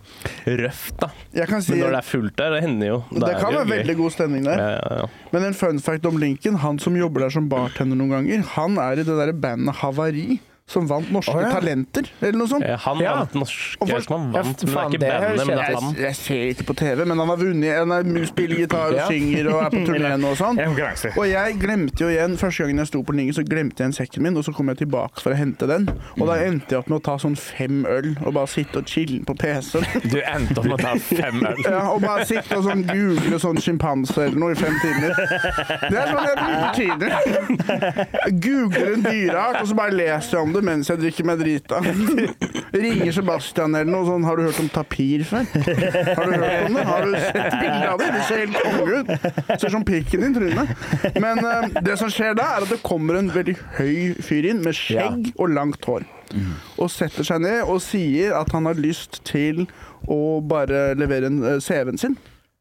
røft, da.
Jeg kan si
Men når det
det,
er fullt der, det hender jo. Da er
kan
jo
være
gøy.
veldig god stemning der.
ja, ja, ja.
Men en fun fact om Lincoln, han som jobber der som bartender noen ganger, han er i det derre bandet Havari, som vant Norske
Å, ja.
Talenter, eller noe sånt.
Eh, Han
Ja.
vant norsk
Og for-
Jeg vet ikke om han
Ja,
vant, men det
faen,
er ikke
det
bandet, men
høres
det er
kjent.
han.
Jeg, jeg ser ikke på TV, men han har vunnet. Han er mus, spiller gitar og synger og er på turneen og sånn.
Jeg er konkurranse.
Og jeg glemte jo igjen, første gangen jeg sto på linjen, så glemte jeg igjen sekken min, og så kom jeg tilbake for å hente den. Og da endte jeg opp med å ta sånn fem øl og bare sitte og chille på PC-en.
Du endte opp med å ta fem øl.
Ja, og bare sitte og sånn google sånn sjimpanse eller noe i fem timer. Det er sånn jeg bruker tiden. Jeg Googler en dyreart, og så bare leser jeg om det mens jeg drikker meg drita. Ringer Sebastian eller noe sånn 'Har du hørt om tapir før?' Har du hørt om det? Har du sett bilde av det? Det ser helt konge ut. Ser som pikken din, Trune. Men eh, det som skjer da, er at det kommer en veldig høy fyr inn med skjegg og langt hår. Og setter seg ned og sier at han har lyst til å bare levere en, eh, CV-en sin.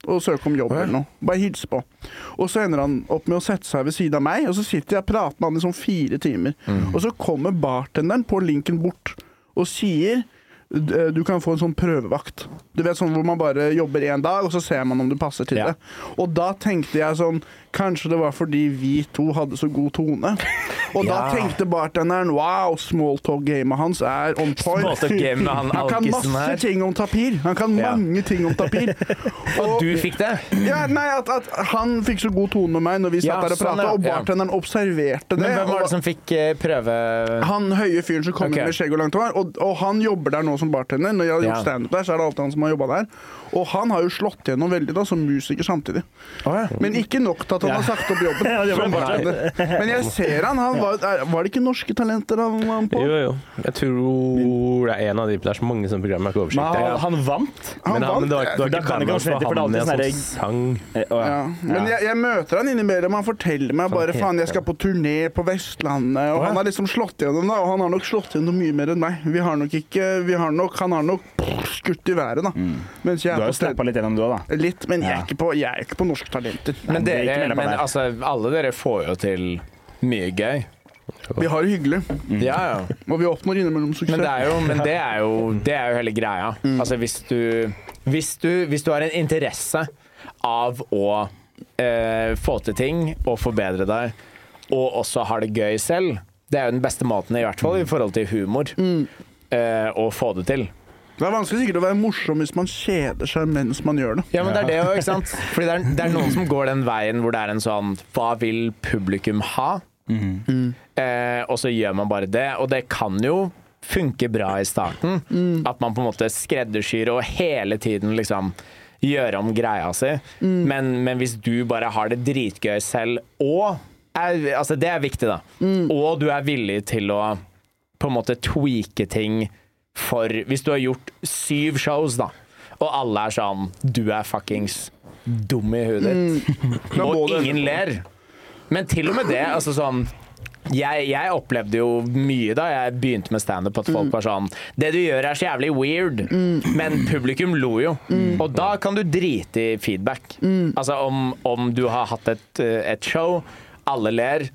Og søke om jobb eller noe. Bare hilse på. Og så ender han opp med å sette seg ved siden av meg, og så sitter jeg og prater med han i sånn fire timer. Og så kommer bartenderen på linken bort og sier eh, du kan få en sånn prøvevakt. Du vet sånn Hvor man bare jobber én dag, og så ser man om du passer til
Ja.
det. Og da tenkte jeg sånn Kanskje det var fordi vi to hadde så god tone. Og da
Ja.
tenkte bartenderen Wow, smalltalk-gamet hans er on point.
Smalltalk game med han
Han kan
alkisen
masse
her.
ting om tapir. Han kan
Ja.
mange ting om tapir.
Og du fikk det?
Ja, nei, at, at han fikk så god tone med meg når vi satt
Ja,
der og
sånn,
prata,
ja.
og bartenderen observerte det.
Men hvem var
og-
det som fikk eh, prøve
han høye fyren som kom
Ok.
inn med skjegg og langt hår, og, og han jobber der nå som bartender. Når jeg har gjort
Ja.
standup der, så er det alltid han som har jobba der. Og han har jo slått gjennom veldig da, som musiker samtidig. Men ikke nok til at han har sagt opp jobben
Ja, det var
som
bra.
bartender. Men jeg ser han. han var, er, var det ikke norske talenter han var på?
Jo, jo. Jeg tror det er en av de Det er så mange sånne programmer jeg har ikke
Men
oversikt
han,
over.
han vant.
Han
Men han, men det
vant.
var, det var ikke
Da kan det ikke
bandet hans,
være
det var han
fordi, for det er
jeg
alltid
som sang.
Eh, å,
Ja. Men jeg, jeg møter han innimellom. Han forteller meg bare
heter
faen, jeg skal på turné på Vestlandet. Og han har liksom slått gjennom, da. Og han har nok slått gjennom mye mer enn meg. Vi har nok ikke vi har nok, Han har nok skutt i været, da. Mens jeg
Du har
er
jo
på sted.
steppa litt gjennom, du òg, da.
Litt, men jeg
Ja.
er ikke på, jeg er ikke på Norske Talenter.
Men,
det
dere,
er ikke meldt på
men
der.
altså, alle dere får jo til mye gøy.
Vi har det hyggelig,
Ja, ja.
og vi oppnår innimellom
Men det
suksess.
er jo, men det er jo, det er jo hele greia. Altså hvis du, hvis, du, hvis du har en interesse av å eh, få til ting og forbedre deg, og også har det gøy selv, det er jo den beste måten, i hvert fall i forhold til humor, eh, å få det til.
Det er vanskelig sikkert å være morsom hvis man kjeder seg mens man gjør det.
Ja, men det er det jo, ikke sant? Fordi det er, det er noen som går den veien hvor det er en sånn Hva vil publikum ha? Eh, og så gjør man bare det. Og det kan jo funke bra i starten. At man på en måte skreddersyr og hele tiden liksom gjøre om greia si. Men, men hvis du bare har det dritgøy selv, og er, altså det er viktig, da. Og du er villig til å på en måte tweake ting for Hvis du har gjort syv shows, da, og alle er sånn Du er fuckings dum i huet ditt,
Da må
og
du-
ingen ler. Men til og med det, altså sånn jeg, jeg opplevde jo mye da jeg begynte med standup, at folk var sånn Det du gjør, er så jævlig weird, men publikum lo jo. Og da kan du drite i feedback. Altså om, om du har hatt et, eh, et show, alle ler.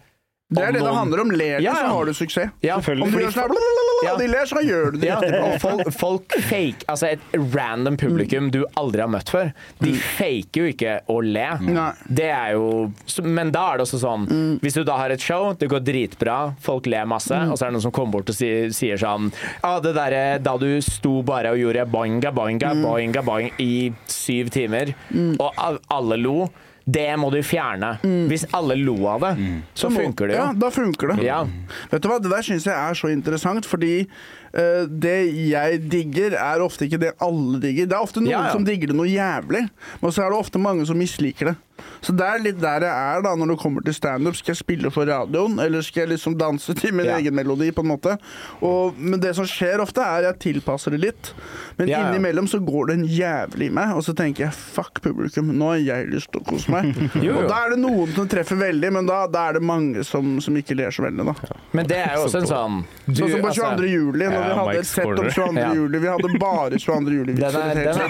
Det er det det handler om. Ler du,
Ja, ja.
så har du suksess.
Ja,
Om du gjør sånn her, blablabla,
Ja.
de ler, så gjør du det.
ja, og folk, folk fake Altså et random publikum du aldri har møtt før, de faker jo ikke å le.
Mm. Nei. Mm.
Det er jo så- Men da er det også sånn Hvis du da har et show, det går dritbra, folk ler masse, og så er det noen som kommer bort og sier, sier sånn Ja, det derre da du sto bare og gjorde boinga, boinga,
Mm.
boinga, boing i syv timer, og al- alle lo, det må du fjerne.
Mm.
Hvis alle lo av det, så funker det jo.
Ja, da funker det.
Ja.
Vet du hva, Det der syns jeg er så interessant, fordi eh, det jeg digger, er ofte ikke det alle digger. Det er ofte noen
Ja, ja.
som digger det noe jævlig, men så er det ofte mange som misliker det. Så det er litt der jeg er da når det kommer til standup. Skal jeg spille for radioen, eller skal jeg liksom danse til min
Ja.
egen melodi, på en måte? Og, men det som skjer ofte, er jeg tilpasser det litt. Men
Ja, ja.
innimellom så går det en jævlig i meg, og så tenker jeg fuck publikum, nå har jeg lyst til å kose meg.
Jo, jo.
Og da er det noen som treffer veldig, men da, da er det mange som, som ikke ler så veldig, da.
Men det er jo også en sånn
Sånn
Du,
som på
altså-
22. juli, når
ja,
vi hadde et
Mike's
sett om
Corner.
22.
Ja.
juli. Vi hadde bare 22.
Den er, den er
juli-vitser.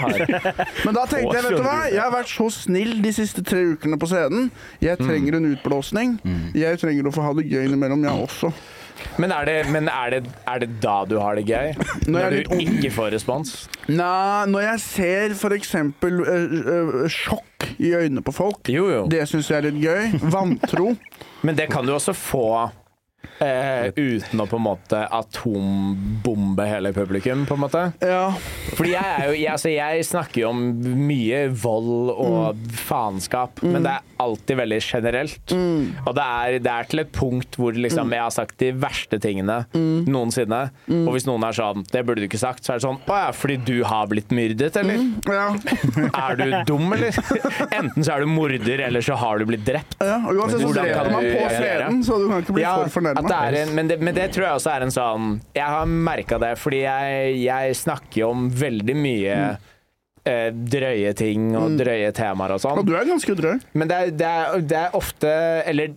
hard.
Men da tenkte jeg, vet du hva, jeg har vært så snill de siste tre ukene på scenen. Jeg
Mm.
trenger en utblåsning. Jeg trenger å få ha det gøy innimellom, jeg også.
Men, er det, men er, det, er det da du har det gøy? Når,
jeg er litt
du ikke får respons?
Nei, når jeg ser for eksempel øh, øh, sjokk i øynene på folk,
Jo, jo.
det syns jeg er litt gøy. Vantro.
Men det kan du også få eh, uten å på en måte atombombe hele publikum, på en måte.
Ja.
Fordi jeg, er jo, jeg, altså jeg snakker jo om mye vold og
Mm.
faenskap, men det er alltid veldig generelt.
Mm.
Og det er, det er til et punkt hvor liksom, jeg har sagt de verste tingene
Mm.
noensinne. Og hvis noen er sånn 'det burde du ikke sagt', så er det sånn 'å ja, fordi du har blitt myrdet', eller?
ja.
Er du dum, eller? Enten så er du morder, eller så har du blitt drept.
ja. Og uansett så
Hvordan kan
dreper man
du
på
gjøre det?
scenen, så du kan ikke bli
Ja,
for
at det
fornærma.
er en, men, det, men det tror jeg også er en sånn Jeg har merka det, fordi jeg, jeg snakker jo om veldig mye
Mm.
eh, drøye ting og drøye temaer og sånn.
Og du er ganske drøy.
Men det er, det, er, det er ofte Eller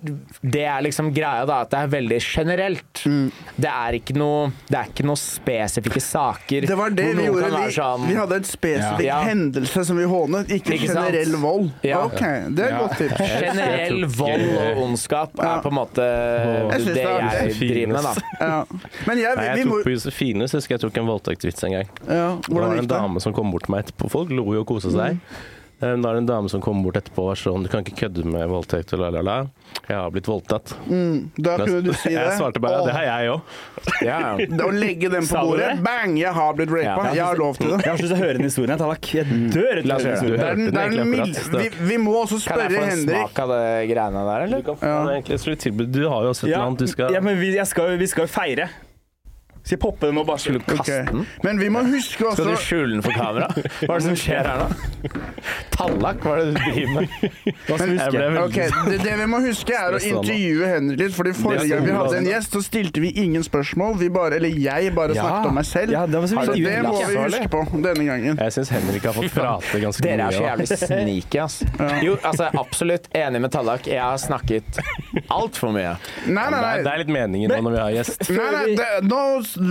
det er liksom greia, da, at det er veldig generelt.
Mm.
Det er ikke noe Det er ikke noe spesifikke saker.
Det var det
hvor
vi
noen
gjorde.
kan være
Vi,
sånn-
vi hadde en spesifikk
Ja. Ja.
hendelse som vi hånet, ikke,
Ikke sant?
generell vold.
Ja.
Ok, det er et godt tips.
Generell vold og ondskap er
Ja.
på en måte
Jeg synes
det
det er
jeg
fint.
driver med, da.
Ja. Men jeg,
Nei,
vi
jeg
må
tok på Josefine, så husker jeg jeg tok en voldtektsvits en gang.
ja,
Det
Hvordan
var en
gikk det? Mm.
dame som kom bort til meg etterpå. Folk lo jo og kosa seg. Um, Da er det en dame som kom bort etterpå og var sånn Du kan ikke kødde med voldtekt og la-la-la. Jeg har blitt voldtatt.
Da kunne du si det.
Jeg svarte bare ja, det har jeg òg.
Ja, ja.
Det Å legge den på
Sa du
bordet.
det?
Bang! Jeg har blitt rapa.
Ja.
Jeg har lov til det.
Jeg har så lyst til å høre den historien. jeg, Tallak. Jeg dør etter
La oss høre.
den
Du
historien.
Det er
hørte
den,
den
det er den
egentlig
mild,
akkurat.
vi, vi må også
Kan jeg
spørre
få en
Henrik.
smak av det greiene der, eller?
Du kan få det egentlig skulle tilbudt Du har jo også et eller annet du skal
ja, men vi, jeg skal, jo- vi skal jo feire. Skal jeg poppe den og bare
Skulle du kaste
Ok.
den?
Men vi må huske
Skal
også
du skjule den for kamera? Hva er det som skjer her nå? Tallak, hva er det du driver med?
Jeg ble veldig
Ok, det, det vi må huske er å
Stressa nå.
intervjue Henrik litt, fordi forrige
Det er
gang vi
så
hadde en
bra.
gjest, så stilte vi ingen spørsmål. Vi bare, eller jeg bare
Ja.
snakket om meg selv.
Ja, det var så
så
vidt
det må
ulass,
vi huske på denne gangen.
Jeg syns Henrik har fått prate ganske mye.
Dere er så
da.
jævlig sneaky, ass. Jo, altså, absolutt enig med Tallak. Jeg har snakket altfor mye.
Nei, nei,
Det er, det
nei.
er litt meningen nå når vi har gjest.
Nei, nei, det, nå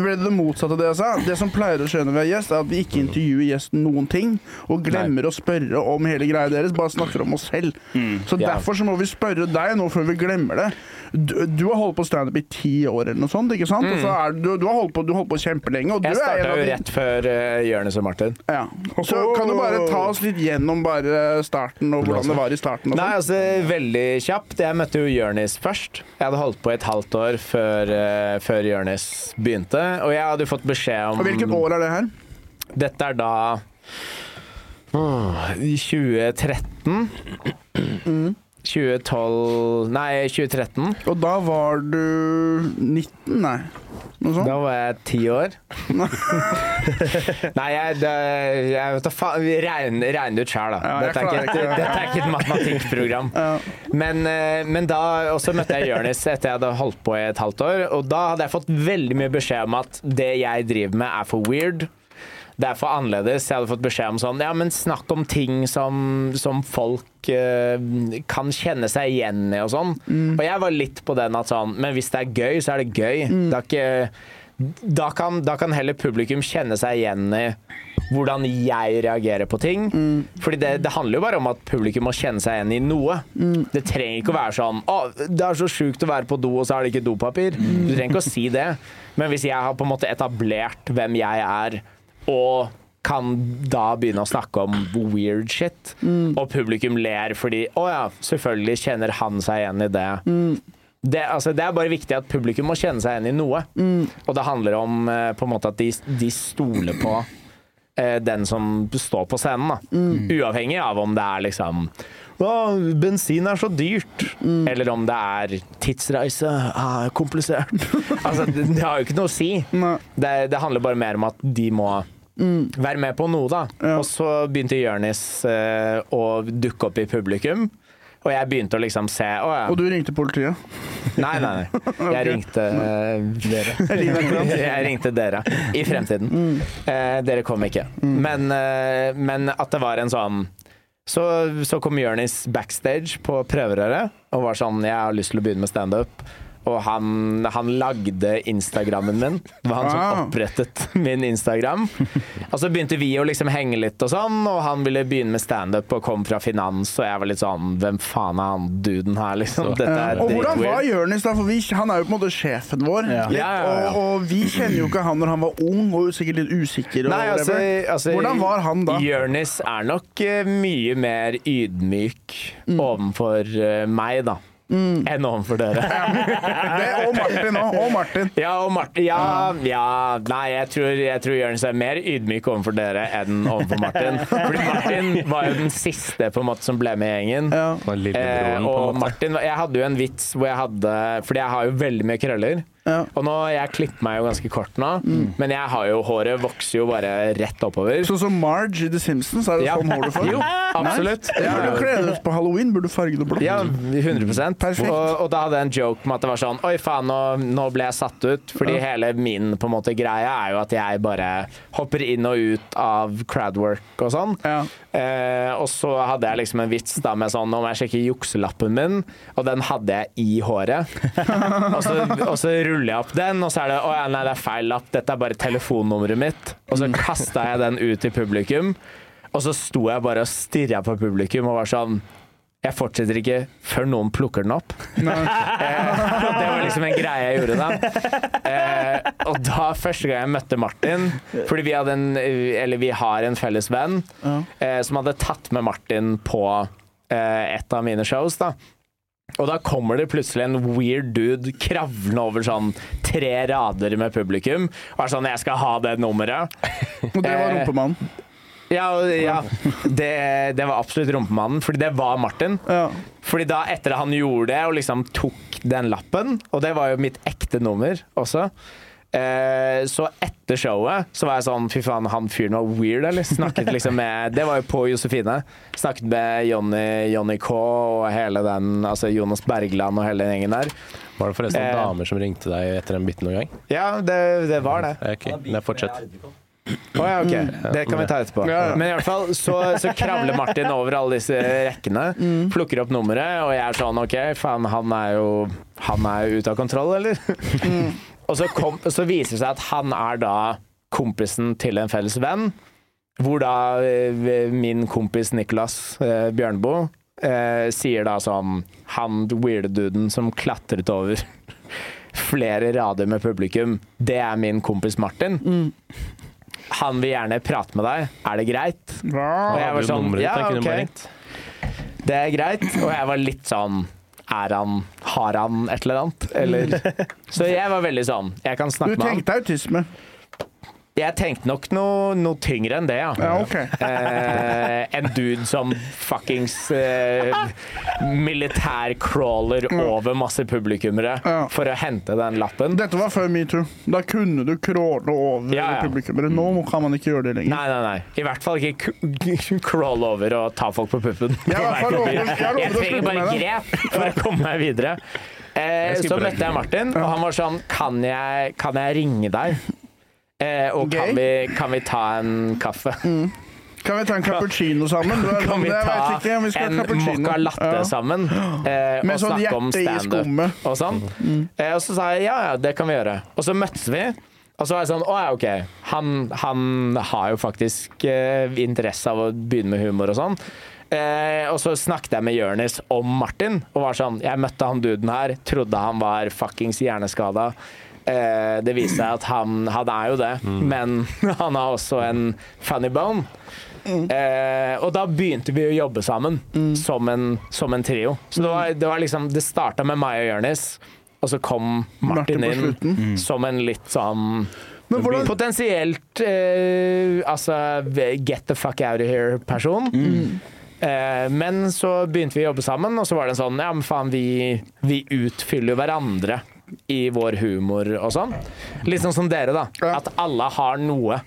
ble det det motsatte av det jeg sa. Det som pleier å skje når vi har gjest, er at vi ikke intervjuer gjesten noen ting, og glemmer å spørre om hele greia deres, bare snakker om oss selv. Så
Mm. Ja.
derfor så må vi spørre deg nå før vi glemmer det. Du, du har holdt på standup i ti år eller noe sånt, ikke sant? Og så er, du, du har holdt på, du har holdt på kjempelenge, og du
Mm. Jeg
er en
starta jo
av de
rett før uh, Jonis og Martin.
Ja. Så kan du bare ta oss litt gjennom bare starten og hvordan det var i starten. Og
Nei,
sånn.
altså veldig kjapt. Jeg møtte jo Jonis først. Jeg hadde holdt på i et halvt år før, uh, før Jonis begynte, og jeg hadde jo fått beskjed om
og hvilket år er det her?
Dette er da mm, 2013. 2012 Nei, 2013.
Og da var du 19, nei? Noe sånt?
Da var jeg ti år. Nei, jeg, det, jeg vet da faen vi Regner regner ut sjæl, da.
Ja,
dette,
jeg
er
klarer
ikke et,
ikke det.
dette er ikke et matematikkprogram.
Ja.
Men, eh, men da Og så møtte jeg Jonis etter jeg hadde holdt på i et halvt år. Og da hadde jeg fått veldig mye beskjed om at det jeg driver med, er for weird. Det er for annerledes. Jeg hadde fått beskjed om sånn Ja, men snakk om ting som, som folk eh, kan kjenne seg igjen i og sånn.
Mm.
Og jeg var litt på den at sånn Men hvis det er gøy, så er det gøy.
Mm.
Det er ikke da kan, da kan heller publikum kjenne seg igjen i hvordan jeg reagerer på ting. Fordi det, det handler jo bare om at publikum må kjenne seg igjen i noe. Det trenger ikke å være sånn Å, det er så sjukt å være på do, og så er det ikke dopapir. Du trenger ikke å si det. Men hvis jeg har på en måte etablert hvem jeg er og kan da begynne å snakke om weird shit. Og publikum ler fordi Å ja, selvfølgelig kjenner han seg igjen i det. Det, altså, det er bare viktig at publikum må kjenne seg igjen i noe. Og det handler om eh, på en måte at de, de stoler på eh, den som står på scenen. Da. Uavhengig av om det er liksom å, bensin er så dyrt. Eller om det er tidsreise er komplisert. altså, det, det har jo ikke noe å si.
Nei.
Det, det handler bare mer om at de må være med på noe, da.
Ja.
Og så begynte Jonis eh, å dukke opp i publikum. Og jeg begynte å liksom se Å ja.
Og du ringte politiet?
Nei, nei, nei. Jeg ringte eh, dere. Jeg ringte dere i fremtiden.
Mm.
Eh, dere kom ikke. Men, eh, men at det var en sånn så, så kom Jonis backstage på prøverøret og var sånn Jeg har lyst til å begynne med standup. Og han, han lagde Instagrammen min. Det var han som
Wow.
opprettet min Instagram. Og så begynte vi å liksom henge litt og sånn, og han ville begynne med standup og kom fra finans, og jeg var litt sånn Hvem faen er han duden her, liksom? Dette er
Eh, Og hvordan var
dritweird.
Jonis, da? For vi, han er jo på en måte sjefen vår.
Ja.
Litt,
Ja, ja, ja.
Og, og vi kjenner jo ikke han når han var ung og sikkert litt usikker. Og
Nei, altså,
whatever.
altså
hvordan var han da?
Jonis er nok eh, mye mer ydmyk
Mm.
overfor eh, meg, da, enn overfor dere.
Det, og Martin òg. Og Martin.
Ja, og Martin Ja, ja nei, jeg tror, jeg tror Jørnis er mer ydmyk overfor dere enn overfor Martin. Fordi Martin var jo den siste på en måte som ble med i gjengen.
Ja.
Han er
Eh,
lillebroren, på
og
en måte.
Martin, jeg hadde jo en vits hvor jeg hadde Fordi jeg har jo veldig mye krøller.
Ja. Mm.
Og nå, jeg klipper meg jo ganske kort nå, men jeg har jo håret vokser jo bare rett oppover.
Sånn som Marge i The Simpsons, er det
Ja.
sånn hår du får?
Jo, absolutt.
Nei?
Ja.
Burde du kle deg ut på halloween? Burde du farge det blått?
Ja, 100
Perfekt.
Og, og da hadde jeg en joke med at det var sånn Oi, faen, nå, nå ble jeg satt ut. Fordi hele min på en måte greie er jo at jeg bare hopper inn og ut av crowdwork og sånn.
Ja.
Eh, og så hadde jeg liksom en vits da med sånn Nå må jeg sjekke jukselappen min, og den hadde jeg i håret. og, så, og så ruller jeg opp den, og så er det Å ja, nei, det er feil lapp. Dette er bare telefonnummeret mitt. Og så kasta jeg den ut til publikum. Og så sto jeg bare og stirra på publikum og var sånn jeg fortsetter ikke før noen plukker den opp. Eh, og det var liksom en greie jeg gjorde da. Eh, og da første gang jeg møtte Martin, fordi vi, hadde en, eller vi har en felles venn
Ja.
eh, som hadde tatt med Martin på eh, et av mine shows, da. Og da kommer det plutselig en weird dude kravlende over sånn tre rader med publikum. Og er sånn 'Jeg skal ha det nummeret'.
Og det var
Eh,
rumpemannen.
Ja, og- ja. Det, det var absolutt rumpemannen, fordi det var Martin.
Ja.
Fordi da etter han gjorde det og liksom tok den lappen, og det var jo mitt ekte nummer også, eh, så etter showet så var jeg sånn fy faen, han fyren var weird, eller? Snakket liksom med Det var jo på Josefine. Snakket med Jonny, Jonny K og hele den, altså Jonas Bergland og hele den gjengen der.
Var det forresten
Eh.
damer som ringte deg etter den biten noen gang?
Ja, det, det var det.
Eh, Ok, Nei, fortsett.
Å ja, ok. Det kan vi ta etterpå.
Ja, ja.
Mm. Men i hvert fall så, så kravler Martin over alle disse rekkene, plukker opp nummeret, og jeg er sånn OK, faen, han er jo Han er jo ute av kontroll, eller? Mm. og så, kom, så viser det seg at han er da kompisen til en felles venn, hvor da eh, min kompis Niklas eh, Bjørneboe eh, sier da sånn Han weirde duden som klatret over flere rader med publikum, det er min kompis Martin. Han vil gjerne prate med deg, er det greit? Og jeg
Hadde
var
du
sånn,
nummeret ditt?
ja,
Jeg kunne bare
ok,
ringt.
det er greit. Og jeg var litt sånn, er han, har han et eller annet? Eller? Så jeg var veldig sånn, jeg kan
Du
snakke med han.
tenkte autisme.
Jeg tenkte nok noe, noe tyngre enn det, ja.
Ja, ok.
Eh, en dude som fuckings eh, militærcrawler over masse publikummere
Ja.
for å hente den lappen.
Dette var før metoo. Da kunne du crawle over
Ja, ja.
publikummere. Nå kan man ikke gjøre det lenger.
Nei, nei, nei. I hvert fall ikke k- crawl over og ta folk på puppen.
Jeg har i hvert fall lovet- jeg har lovet
Jeg
å
trenger
slutte
bare
med det.
grep for å komme meg videre. Eh,
Jeg
så
skipper
møtte
det.
jeg Martin, og han var sånn Kan jeg, kan jeg ringe deg? Eh, og kan
Gøy.
vi, kan vi ta en kaffe?
Kan vi ta en cappuccino sammen? Du er
Kan
sånn,
vi
jeg vet ikke
ta
om vi skal
en
ha cappuccino.
mocca latte
Ja.
sammen? Eh,
Med
og
sånn
snakke om
hjerte i skummet. Mm.
standup og sånn. Eh, og så sa jeg ja, ja, det kan vi gjøre. Og så møttes vi. Og så var jeg sånn, å ja, ok, han, han har jo faktisk eh, interesse av å begynne med humor og sånn. Eh, og så snakket jeg med Jørnis om Martin, og var sånn, jeg møtte han duden her, trodde han var fuckings hjerneskada. Eh, det viste seg at han, han er jo det,
Mm.
men han har også en funny bone.
Mm.
Eh, og da begynte vi å jobbe sammen som, en, som en trio. Så
Mm.
det, var, det, var liksom, det starta med meg og Jørnis, og så kom Martin,
Martin på
inn som en litt sånn
Men hvordan-
Potensielt eh, altså get the fuck out of here-person.
Mm.
Eh, men så begynte vi å jobbe sammen, og så var det en sånn Ja, men faen, vi, vi utfyller jo hverandre i vår humor og sånn. Litt sånn som dere, da.
Ja. Mm.
At alle har noe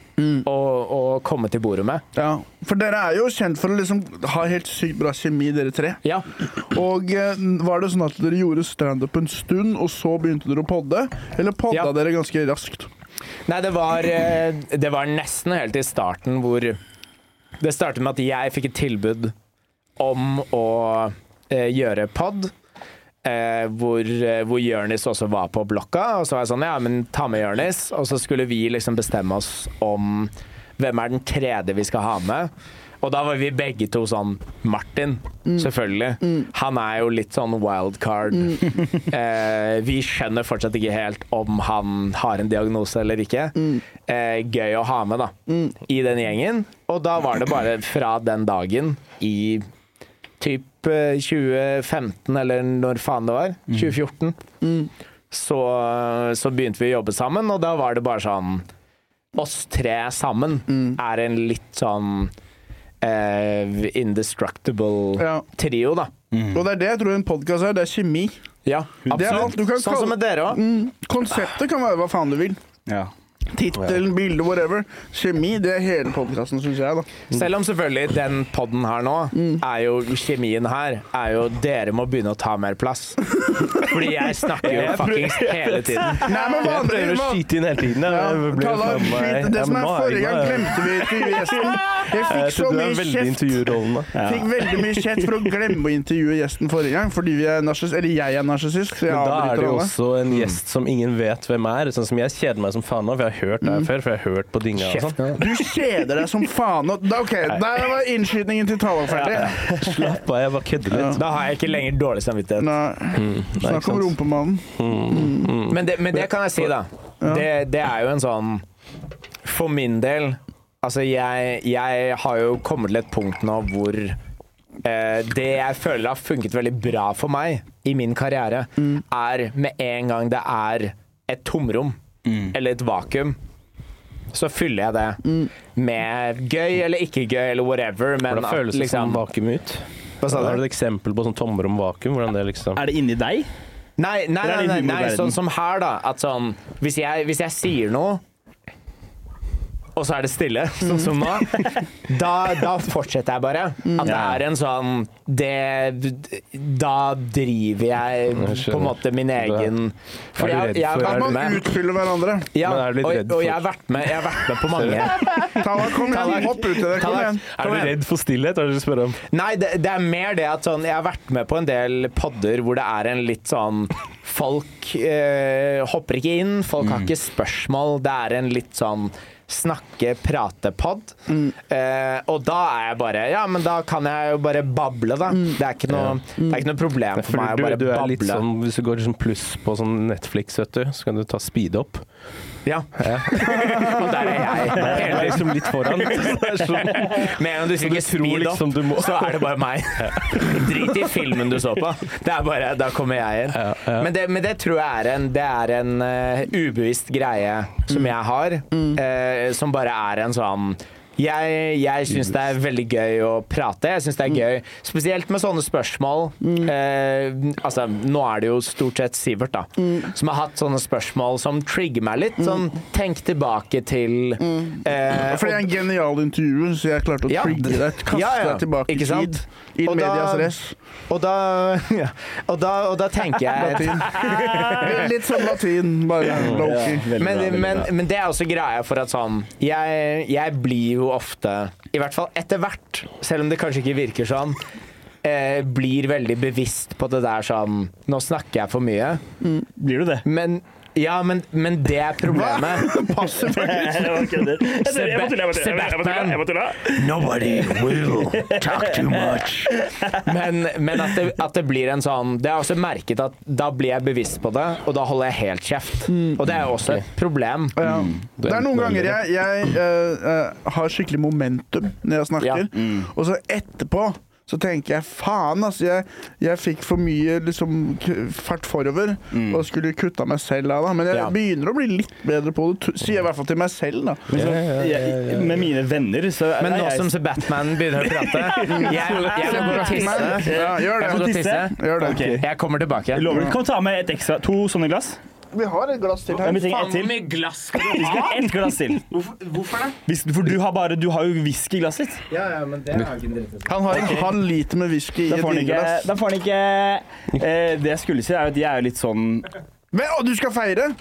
å, å komme til bordet med.
Ja, for dere er jo kjent for å liksom ha helt sykt bra kjemi, dere tre.
Ja.
Og eh, var det sånn at dere gjorde standup en stund, og så begynte dere å podde? Eller podda
Ja.
dere ganske raskt?
Nei, det var, eh, det var nesten helt i starten hvor Det startet med at jeg fikk et tilbud om å eh, gjøre pod. Eh, hvor, eh, hvor Jørnis også var på blokka. Og så var jeg sånn, ja, men ta med Jørnis. Og så skulle vi liksom bestemme oss om hvem er den tredje vi skal ha med. Og da var vi begge to sånn Martin, selvfølgelig. Han er jo litt sånn wildcard. eh, vi skjønner fortsatt ikke helt om han har en diagnose eller ikke. Eh, gøy å ha med, da. I den gjengen. Og da var det bare fra den dagen i typ eh, 2015, eller når faen det var,
Mm.
2014, så, eh, så begynte vi å jobbe sammen, og da var det bare sånn Oss tre sammen
Mm.
er en litt sånn eh, indestructible
Ja.
trio, da.
Og det er det jeg tror en podkast er. Det er kjemi.
Ja,
Det er alt
absolutt.
du kan
Sånn som
kalle-
med dere òg.
Mm, konseptet kan være hva faen du vil.
Ja.
Tittelen, bildet, whatever. Kjemi, det er hele podkasten, syns jeg, da.
Selv om selvfølgelig den podden her nå,
Mm.
er jo kjemien her, er jo dere må begynne å ta mer plass. Fordi jeg snakker jo fuckings hele tiden.
Nei, men
Jeg prøver
vanlig,
å skyte inn hele tiden.
Ja,
Jeg blir
Kalle,
faen meg-
skyt- det
Ja,
som
men
er
nå jeg
forrige gang,
glad, jeg.
glemte vi til gjesten. Jeg
Eh, Jeg
fikk så
tror du er
mye
veldig
kjeft.
intervjurollende.
Fikk veldig mye kjeft for å glemme å intervjue gjesten forrige gang, fordi vi er narsis, eller jeg er narsissist. så jeg
Men da er
avbryter
det jo
alle.
også en gjest som ingen vet hvem er. Sånn som jeg kjeder meg som faen nå, for jeg har
Mm.
hørt det her før. For jeg har hørt på dinga og sånn.
Du kjeder deg som faen. Og, da, ok, Der var innskytingen til Tallak ferdig.
Slapp av, jeg bare kødder litt.
Da har jeg ikke lenger dårlig samvittighet.
Nei,
Nei,
Snakk
Mm, ikke
om
sant?
rumpemannen.
Men det, men det kan jeg si, da. Det, det er jo en sånn For min del Altså, jeg, jeg har jo kommet til et punkt nå hvor eh, det jeg føler har funket veldig bra for meg i min karriere, er med en gang det er et tomrom
Mm.
eller et vakuum, så fyller jeg det med gøy eller ikke gøy eller whatever, men
Hvordan føles det
liksom-
som vakuum ut?
Hva sa du?
Har du et eksempel på sånn tomrom vakuum? Hvordan det liksom
Er det inni deg?
Nei, nei,
Eller er
nei,
det
nei, nei
humorverden?
sånn som her da At sånn, hvis jeg, hvis jeg sier noe Og så er det stille, sånn som nå Da, da fortsetter jeg bare
Mm.
At det
Ja.
er en sånn det, Da driver jeg
Jeg skjønner.
på en måte min egen For
Er du
jeg,
redd
jeg har
for-
vært
At man
med
utfyller hverandre.
ja,
Men er du
og,
litt
og
redd for-
jeg har vært med, jeg har vært med på mange
Tallak, kom
Tallak.
igjen. Hopp uti det. Kom
Tallak.
igjen.
Er
Kom
du
igjen.
redd for stillhet? Er det det du spør om?
Nei, det, det er mer det at sånn, jeg har vært med på en del podder hvor det er en litt sånn Folk eh, hopper ikke inn, folk har ikke spørsmål. Det er en litt sånn snakke-prate-pod. Eh, og da er jeg bare Ja, men da kan jeg jo bare bable, da. Det, er ikke noe, det er ikke noe problem for
For
meg å
du,
bare
du er
bable.
litt sånn, Hvis du går liksom pluss på sånn Netflix, vet du, så kan du ta speed opp.
Ja. Og der er jeg. Hele liksom litt foran.
sånn,
Med en gang du trykker
tror
speed up,
liksom du må-
så er det bare meg. Drit i filmen du så på. Det er bare Da kommer jeg inn. Men det, men det tror jeg er en, det er en eh, ubevisst greie som jeg har, eh, som bare er en sånn jeg, jeg syns det er veldig gøy å prate. Jeg syns det er gøy Spesielt med sånne spørsmål. Eh, altså, nå er det jo stort sett Sivert, da, som har hatt sånne spørsmål som trigger meg litt. Sånn tenk tilbake til eh,
Fordi jeg er en genial intervjuer, så jeg klarte å
Ja.
trigge deg. Kaste
Ja, ja.
deg tilbake i
Ikke sant?
tid. I
Og da-
medias res.
og, da, ja, og, da, og da tenker jeg
Latin. Litt sånn latin, bare lowkey.
Veldig
men,
bra, veldig
men,
bra.
men det er også greia for at sånn jeg, jeg blir jo ofte, i hvert fall etter hvert, selv om det kanskje ikke virker sånn, eh, blir veldig bevisst på det der sånn Nå snakker jeg for mye.
Blir du det?
Men ja, men, men det er problemet.
Passer faktisk.
Jeg bare kødder. Jeg tuller, jeg bare tuller, jeg bare tuller, jeg bare tuller, jeg bare tuller.
Nobody will talk too much. Men, men at, det, at det blir en sånn Det har jeg også merket at da blir jeg bevisst på det, og da holder jeg helt kjeft.
Mm.
Og det er jo også et problem.
Ja. Det er noen ganger jeg, jeg eh, eh, har skikkelig momentum når jeg snakker,
Ja.
Mm.
og så etterpå så tenker jeg faen, altså. Jeg, jeg fikk for mye liksom, k- fart forover
Mm.
og skulle kutta meg selv av, da. Men jeg
Ja.
begynner å bli litt bedre på det, t- sier jeg i hvert fall til meg selv, da.
Jeg- Eh, Med mine venner, så
Men
Nei,
nå
jeg-
som så Batman begynner å prate Jeg, jeg må gå og
Men,
tisse.
ja,
Jeg
gjør
må
det.
gå og tisse.
Gjør det.
Ok.
Jeg kommer tilbake.
Jeg Lover du? Kom ta med et ekstra. To sånne glass.
Vi har et glass til
Men
her.
vi trenger ett til.
mye glass
Vi skal ha ett glass til.
Hvorfor det?
Hvis, for du har, bare, du har jo whisky i glasset ditt.
Han har en halv liter med whisky i
Da
et
får han ikke,
vinglass.
da får han ikke eh, Det jeg skulle si, er jo at jeg er jo litt sånn
Men, å, du skal feire?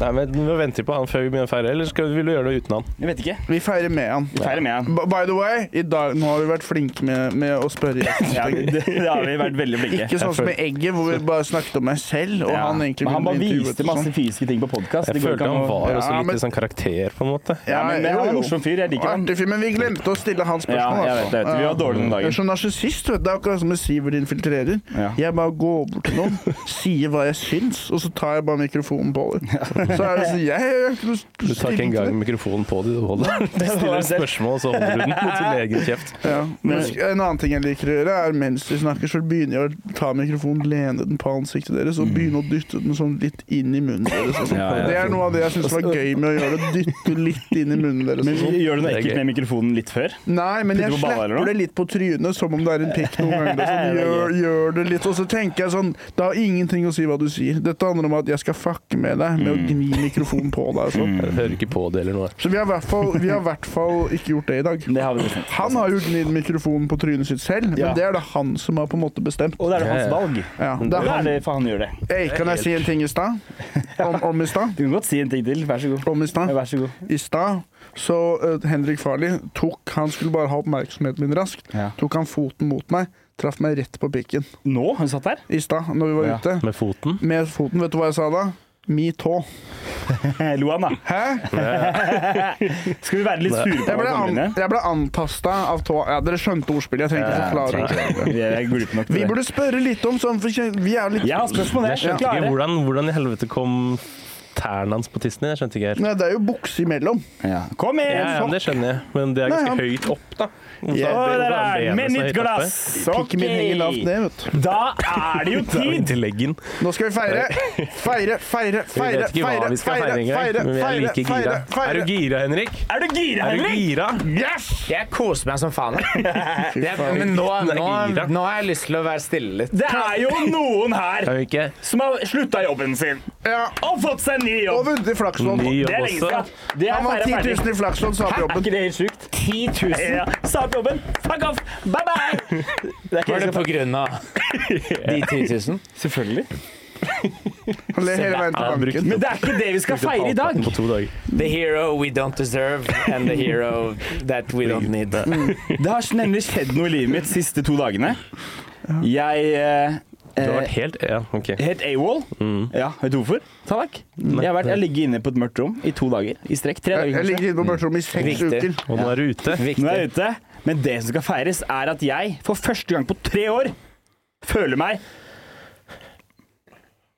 Nei, men Vi venter på han før vi begynner å feire, eller skal, vil du gjøre det uten han?
Jeg vet ikke.
Vi feirer med han.
Vi feirer med han.
B- By the way, i dag, nå har vi vært flinke med, med å spørre gjesten.
Ja, det, det har vi vært veldig flinke.
Ikke sånn som med egget, hvor vi bare snakket om meg selv. Og
Ja.
han egentlig
Men han
ville
bare
bli intervjuet
viste
og
masse
sånn.
fysiske ting på podkast.
Jeg følte han var også
Ja,
litt
men-
i sånn karakter, på en måte.
ja, men
jo,
Han er en
jo.
morsom fyr. Jeg
Og
liker han.
Artig fyr, men vi glemte å stille hans
Ja,
spørsmål.
jeg vet det. jeg vet det. Vi var dårlige den
Jeg er
dagen.
som narsissist, vet du. Det er akkurat som med Sivert infiltrerer.
Ja.
Jeg bare går bort til noen, sier hva jeg syns, og så tar jeg bare mikrofonen på dem. Så er det sånn Jeg har ikke noe
Du tar ikke
stilling til det.
engang mikrofonen på deg, du holder den. Du
var
stiller
meg
et
selv.
spørsmål, og så holder du den mot din egen kjeft.
Ja. Men sk- en annen ting jeg liker å gjøre, er mens de snakker, så begynner jeg å ta mikrofonen, lene den på ansiktet deres
Mm.
og begynne å dytte den sånn litt inn i munnen deres. og sånn.
Ja, ja.
Det er noe av det jeg syns var gøy med å gjøre det. Dytte litt inn i munnen deres.
Men
og sånn.
Gjør du noe
Det er
ekkelt
gøy.
med mikrofonen litt før?
Nei, men jeg
Putter du på balla, eller
slipper
noe?
det litt på trynet, som om det er en pikk noen ganger. Det er Sånn,
Det er
gjør, gjør det litt, og så tenker jeg sånn Det har ingenting å si hva du sier. Dette handler om at jeg skal fucke med deg
Mm.
med å gni mikrofonen på deg. og Sånn.
Jeg hører ikke på det eller noe.
Så vi har i hvert fall- vi har i hvert fall ikke gjort det i dag.
Det har vi bestemt.
Han har jo gnidd mikrofonen på trynet sitt selv,
Ja.
men det er det han som har på en måte bestemt.
Og det er det hans
Ja, ja.
valg.
Ja, det er
Da er
han.
det, for han gjør det.
Hey, kan jeg si en ting i stad? Om, om i stad?
Du kan godt si en ting til. Vær så god.
Om i stad?
Ja, Vær så god.
I stad så eh, Henrik Farley tok Han skulle bare ha oppmerksomheten min raskt.
Ja.
Tok han foten mot meg, traff meg rett på pikken.
Nå? Har du satt der?
I stad, når vi var
Ja.
ute.
Med foten.
Med foten, vet du hva jeg sa da? Me tå.
Lo han, da.
Hæ?
Skal vi være litt sure på
Jeg ble, an,
hverandre?
jeg ble antasta av tå. Ja, dere skjønte ordspillet. Jeg trenger ikke forklare det.
Vi er glupe nok
Vi
til det.
burde spørre litt om sånn, for vi er jo litt
Jeg har spørsmål,
Jeg
jeg.
skjønte
Klare.
ikke hvordan, hvordan i helvete kom tærne hans på tissen din. Jeg skjønte ikke helt.
Nei, det er jo bukse imellom.
Ja. Kom igjen,
Ja, ja, men
sokk!
det skjønner jeg, men det er ganske
Nei,
høyt opp, da. Hvorfor
Ja.
er
Å,
det-
der
hvorfor er
er
benet
Med
så
nytt
høyt oppe?
glass!
Pikken min henger lavt ned, vet du.
Da er det
Det er jo
jo tid!
Inntil leggen.
Nå skal vi feire. Feire, feire,
Vi
feire,
vet ikke hva
feire,
vi skal feire
feire,
engang, men vi er
feire,
like gira.
feire, feire.
Er du gira, Henrik?
Er du gira,
Er du
Henrik?
gira?
Yes!
Jeg koser meg som faen. jeg. Det, men nå, nå, nå har jeg lyst til å være stille litt.
Det er jo noen her
Er du ikke?
som har slutta jobben sin
Ja,
og fått seg ny
og
jobb.
vunnet i Flakslodd.
Ny jobb
Det er lenge
også.
siden. Det
Han
er
vant
feira
10
ferdig.
000 i Flakslodd, sa på
Er
jobben.
ikke det helt sjukt?
10 000.
Ja. Sa opp jobben. Fuck off. Bye bye. Det er ikke
Var det
helt
på grunn av de 10 000?
Selvfølgelig.
Han ler hele veien til banken.
Men det er ikke det vi skal feire i dag.
På to dager.
The hero we don't deserve, and the hero that we don't need.
Det har nemlig skjedd noe i livet mitt de siste to dagene. Jeg eh,
Du har
eh,
vært helt Ja, OK.
Helt AWOL. Ja, vet du hvorfor? Tallak. Jeg har, vært, jeg har ligget inne på et mørkt rom i to dager i strekk. Tre
Jeg
dager,
jeg
kanskje.
ligger inne på mørkerommet i seks
Viktig.
uker.
Og nå er du ute.
Viktig.
Nå er jeg ute. Men det som skal feires, er at jeg for første gang på tre år føler meg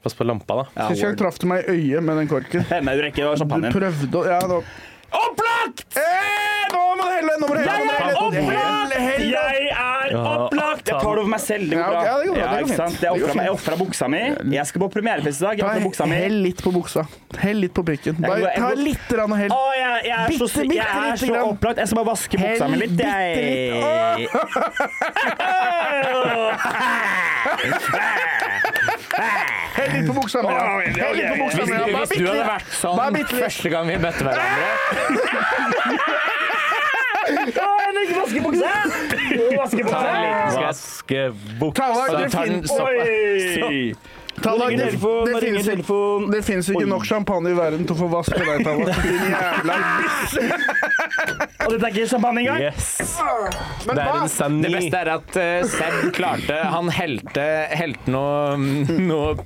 Pass på lampa, da.
Ja,
Syns jeg
word.
traff du meg i øyet med den korken.
Nei, du rekker å ha
Du
champagnen.
prøvde å Ja, nå
Opplagt!
Eh, Nå må du helle! Nå må du helle!
Jeg
nå må
er
du helle,
opplagt!
helle, helle.
Jeg er
Ja,
opplagt! Jeg
ta-
tar det over meg selv. Det
Ja, ok, ja,
går bra.
det går bra, det går
ikke
fint.
sant? Jeg
Det går
ofra
fint.
meg- jeg ofra buksa mi. Jeg skal på premierefest i dag. Jeg
Ta
ofra buksa mi.
Hell litt på buksa. Hell litt på prikken.
Jeg
Bare
går- jeg
ta
går-
litt grann og hell.
Å, jeg, jeg er så,
Bitte, bitte
jeg er
lite
så
grann.
opplagt. Jeg skal bare vaske buksa mi litt, jeg.
Hell litt på buksa mi! da.
Å,
Hell litt på
ok,
buksa
ok.
mi! da. Bare
Hvis du
bitte
hadde
litt.
vært sånn
Bare bitte litt.
første gang vi møtte hverandre
Å, Henrik, vaske buksa! Vaske
Ta en
buksa!
liten skvett.
Vaske buksa
Tallak, det,
Så tar den
fin
så-
Oi!
Tallak,
ringer
det,
telefonen,
det,
nå ringer
finnes ikke-
telefonen.
det finnes ikke nok champagne i verden til å få vaske deg, Tallak. Din jævla bisse.
Og dette er ikke champagne engang?
Yes.
Men
Det er
hva?
en sani.
Det beste er at eh, Seb klarte Han helte, helte noe, mm, noe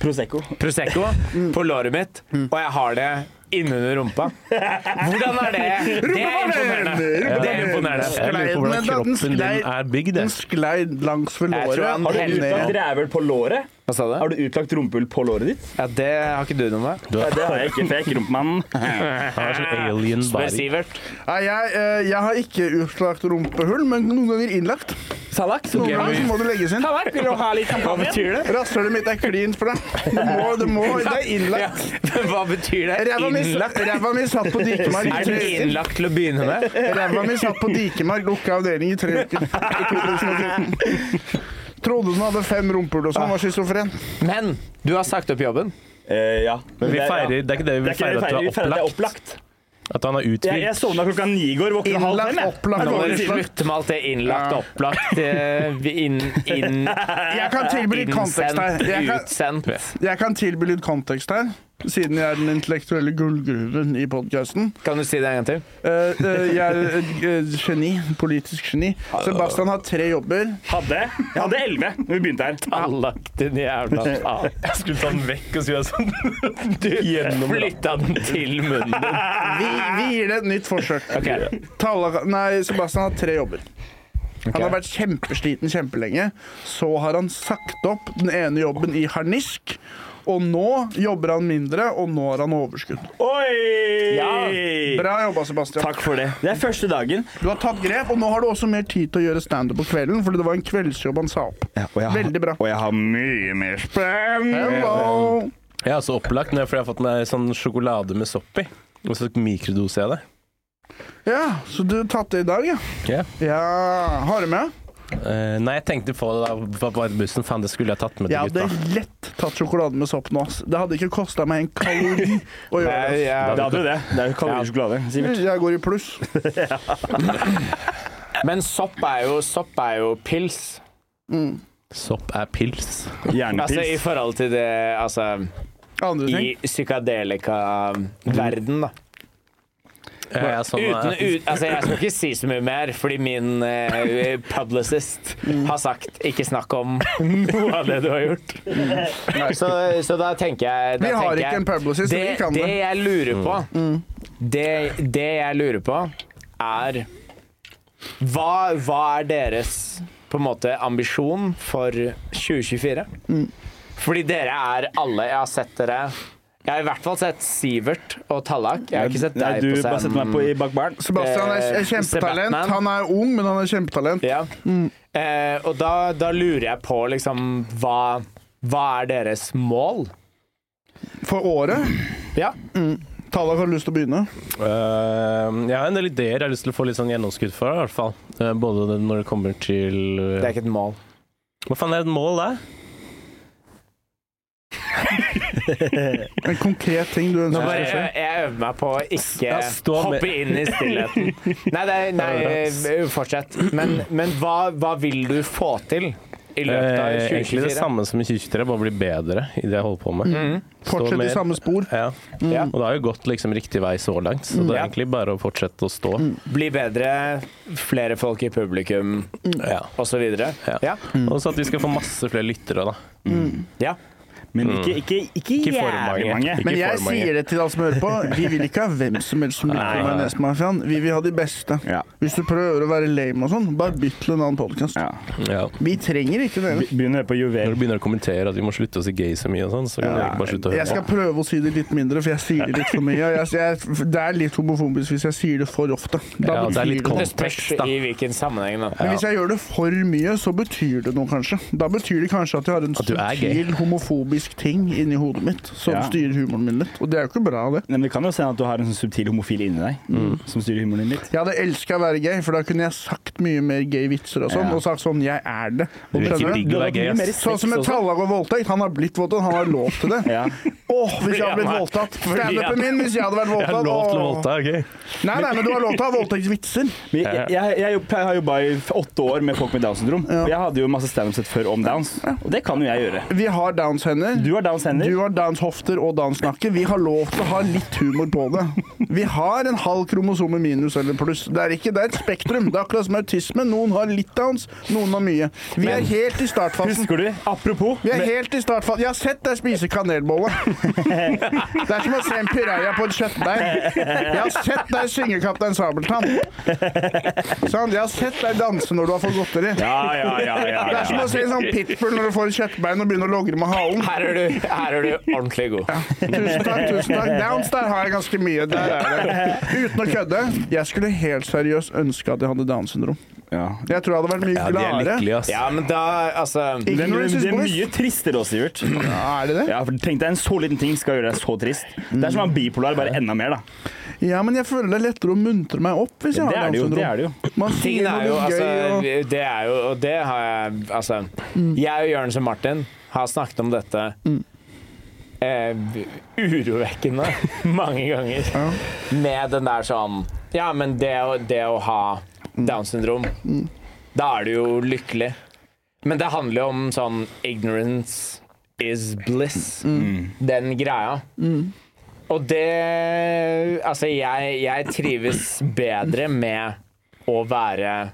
Prosecco.
Prosecco på låret mitt, og jeg har det innunder rumpa. Hvordan er det? Det er imponerende. Det er imponerende.
Jeg lurer på hvordan
Den
kroppen din
sklei-
er bygd.
Den
jeg.
skleid langs ved
Jeg tror
låret.
han-
og
Har du
ned.
utlagt rævhull på låret?
Hva sa
Har du utlagt rumpehull på låret ditt?
Ja, det har ikke du noe med.
Du
Ja,
er
det har jeg ikke, for jeg er ikke rumpemannen.
har sånn alien
Spør
body.
Sivert.
Nei, jeg, eh, jeg har ikke utlagt rumpehull, men noen ganger innlagt.
Salak,
Noen ganger så må det legges inn.
vil du ha litt Hva betyr det?
Rasshølet mitt er klint for deg. Du må, du må, det er
Ja,
innlagt.
men hva betyr det?
Ræva mi,
Innlagt?
ræva mi satt på dikemark i
Er
tre
det
uker.
innlagt til å begynne med?
Ræva mi satt på dikemark, lukka avdeling i tre uker. I 2014. Trodde hun hadde fem rumpehull og sånn, var schizofren.
Men du har sagt opp jobben.
Eh, ja.
Men vi
Det- ja.
feirer, det er ikke det
Det
vi
er ikke det
feirer, at
vi
du
feirer,
er
det er
opplagt.
opplagt.
At han er
Jeg,
uthvilt.
jeg sovna klokka ni i går, våkna halv fem.
Innlagt,
jeg.
opplagt
Nå må
og
du
innlagt.
slutte med alt det innlagt,
Ja.
opplagt, eh, vi inn, inn,
Jeg kan tilby litt kontekst her.
innsendt,
Jeg kan,
utsendt.
jeg kan tilby litt kontekst her. Siden jeg er den intellektuelle gullgruven i podkasten.
Kan du si det en gang til?
eh, jeg er et eh, geni. Politisk geni. Sebastian har tre jobber.
Hadde, jeg hadde elleve når vi begynte her.
Allagt, din jævla faen.
Jeg skulle ta den vekk og si det sånn. Du gjennom
Flytta den til munnen din.
Vi, vi gir det et nytt forsøk.
Ok.
Tallak- Nei, Sebastian har tre jobber. Han har vært kjempesliten kjempelenge. Så har han sagt opp den ene jobben i harnisk. Og nå jobber han mindre, og nå har han overskudd.
Oi!
Bra jobba, Sebastian.
Takk for det. Det er første dagen.
Du har tatt grep, og nå har du også mer tid til å gjøre standup på kvelden, fordi det var en kveldsjobb han sa opp. Veldig bra.
Og jeg har mye mer spenn.
Hello!
Jeg er også opplagt men det er fordi jeg har fått meg sånn sjokolade med sopp i. Og så mikrodoser jeg det.
Ja, så du tatt det i dag, ja?
Ja.
Ja, Har du med?
Eh, nei, jeg tenkte på det da jeg var på vei til bussen. Faen, det skulle jeg tatt med
Jeg
til
hadde
gutta.
lett tatt sjokolade med sopp nå. ass. Det hadde ikke kosta meg en kalori å gjøre det.
Det hadde jo det. Det er jo kalorisk sjokolade. Sivert.
Jeg går Altså, i pluss.
Men sopp er jo, sopp er jo pils.
Sopp er pils.
Altså i
Hjernepils.
forhold til det Altså
Andre ting.
i psykadelika-verden, da.
Jeg er sånn,
Uten,
eh,
ut, altså, jeg skal ikke si så mye mer, fordi min eh, publicist har sagt 'ikke snakk om noe av det du har gjort'. Så, så da tenker jeg da
Vi har
tenker
ikke
jeg-
en publicist, så
det,
vi kan
det.
det. Mm.
jeg lurer på, det, det jeg lurer på, er hva, hva er deres på en måte ambisjon for 2024?
Mm.
Fordi dere er alle Jeg har sett dere Jeg har i hvert fall sett Sivert og Tallak. Jeg har ikke sett
Nei,
deg
du
på
bare setter meg
scenen.
på i bakbaren.
Sebastian er,
Eh,
er kjempetalent.
Sebatman.
Han er ung, men han er kjempetalent.
Ja. Eh, og da, da lurer jeg på liksom hva, hva er deres mål?
For året
Ja.
Tallak har lyst til å begynne.
eh, jeg har en del ideer jeg har lyst til å få litt sånn gjennomskudd for, i hvert fall. Eh, både det- når det kommer til eh,
Det er ikke et mål.
Hva faen er et mål, da?
En konkret ting du
Nå
ønsker
bare,
skal skje.
jeg, Eh, jeg øver meg på å ikke
Ja, stå med-
hoppe inn i stillheten. Nei, det er, nei fortsett. Men, men hva, hva vil du få til i løpet av
Eh, egentlig det
2024?
samme som i 2023, bare bli bedre i det jeg holder på med. Stå
Fortsett i
mer.
samme spor.
Ja.
Ja.
Og det har jo gått liksom riktig vei så langt, så det er
Ja. Mm,
egentlig bare å fortsette å stå.
Bli bedre, flere folk i publikum
Ja.
osv.
Ja.
Ja.
Og så at vi skal få masse flere lyttere, da.
ja.
Men ikke, ikke, ikke,
Ikke for
jævlig
mange.
mange.
Ikke
Men jeg
for mange.
sier det til alle som hører på, vi vil ikke ha hvem som helst som liker
Nei.
Majonesmafiaen. Vi vil ha de beste.
Ja.
Hvis du prøver å være lame og sånn, bare bytt til en annen podkast.
Ja.
Ja.
Vi trenger ikke dere.
Be- Begynn å høre på
Når du
juvel.
begynner å kommentere at vi må slutte å si gay så mye, og sånn, så kan du egentlig bare slutte å høre
Jeg skal prøve å si det litt mindre, for jeg sier det litt for mye. og Jeg, jeg, det er litt homofobisk hvis jeg sier det for ofte. Da
Ja, det er
betyr
litt
noe.
Det spørs
Kontekst, da.
i hvilken sammenheng, da.
Men hvis jeg gjør det for mye, så betyr det noe, kanskje. Da betyr det kanskje at jeg har en
At du er gay.
subtil homofobisk ting inni hodet mitt som
Ja.
styrer humoren min litt. Og det er jo ikke bra, det.
Nei, Men det kan jo se at du har en sånn subtil homofil inni deg som styrer humoren din litt.
Jeg hadde elska å være gay, for da kunne jeg sagt mye mer gay vitser og sånn.
Ja.
Og sagt sånn 'jeg er det'.
Du er ikke
Skjønner
digg
du?
å være
Det
gay,
var mye mer
ass.
Sånn som med Tallag og voldtekt. Han har blitt voldtatt, han har lov til det. Åh,
Ja.
hvis jeg hadde blitt voldtatt! Standupen min, hvis jeg hadde vært
Jeg har
voldtatt
lov til å
åh.
voldta, OK?
Nei, nei, men du har lov til å ha voldtektsvitser.
Men jeg, jeg, jeg, jobb- jeg har jobba i f- åtte år med folk med Downs syndrom.
Ja.
Og jeg hadde jo masse standup-sett før om Downs, og det kan jo jeg gjøre.
Vi har downs-hender.
Du har Downs hender.
Du har downs-hofter og downs-nakke. Vi har lov til å ha litt humor på det. Vi har en halv kromosome minus eller pluss. Det er ikke, det er et spektrum. Det er akkurat som autisme. Noen har litt downs, noen har mye. Vi er helt i startfasen.
Husker du? Apropos.
Vi er helt i startfasen. Jeg har sett deg spise kanelbolle. Det er som å se en piraja på et kjøttdeig. Jeg har sett deg synge Kaptein Sabeltann. Sant? Jeg har sett deg danse når du har fått godteri.
Ja, ja, ja. ja,
Det er som
ja.
å se en sånn pitbull når du får et kjøttbein og begynner å logre med halen.
Her er du, her er du ordentlig god.
Tusen takk, tusen takk. Downs der har jeg ganske mye. Der er det. Uten å kødde. Jeg skulle helt seriøst ønske at jeg hadde Downs syndrom.
ja.
Jeg tror jeg hadde vært mye
Ja, de er
gladere.
lykkelige, ass.
Ja, men da Altså
Det er,
Ignorance
det
is
er
bliss.
mye tristere også, Sivert.
Ja, er det det?
Ja, for Tenk deg en så liten ting skal gjøre deg så trist. Det er som å være bipolar, bare enda mer, da.
Ja, men jeg føler det er lettere å muntre meg opp hvis jeg
Det
har
er
Downs
det jo.
syndrom.
Det er det jo.
Man
Tingen
sier noe
er jo,
litt gøy
altså,
og Mm.
det er jo Og det har jeg Altså, jeg og Jørnes og Martin har snakket om dette eh, urovekkende mange ganger. Med den der sånn Ja, men det, å- det å ha
Mm.
Downs syndrom, da er du jo lykkelig. Men det handler jo om sånn ignorance is bliss.
Mm.
Den greia. Og det Altså, jeg, jeg trives bedre med å være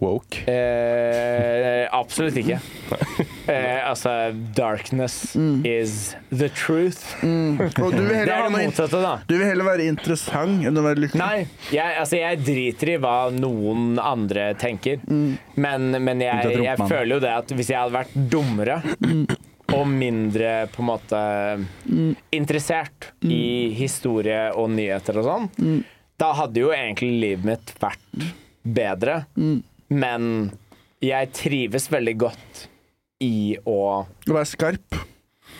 Woke.
eh, Absolutt ikke. Eh, altså, darkness is the truth.
Og du vil
Det
heller,
er
ha
det
noe int-
motsatte, da.
du vil heller være interessant enn å være lykkelig.
Nei, jeg, altså jeg driter i hva noen andre tenker, men, men jeg,
Unntatt
jeg
Ropmann.
føler jo det at hvis jeg hadde vært dummere og mindre på en måte interessert i historie og nyheter og sånn, da hadde jo egentlig livet mitt vært bedre. Men jeg trives veldig godt i å
Å være skarp.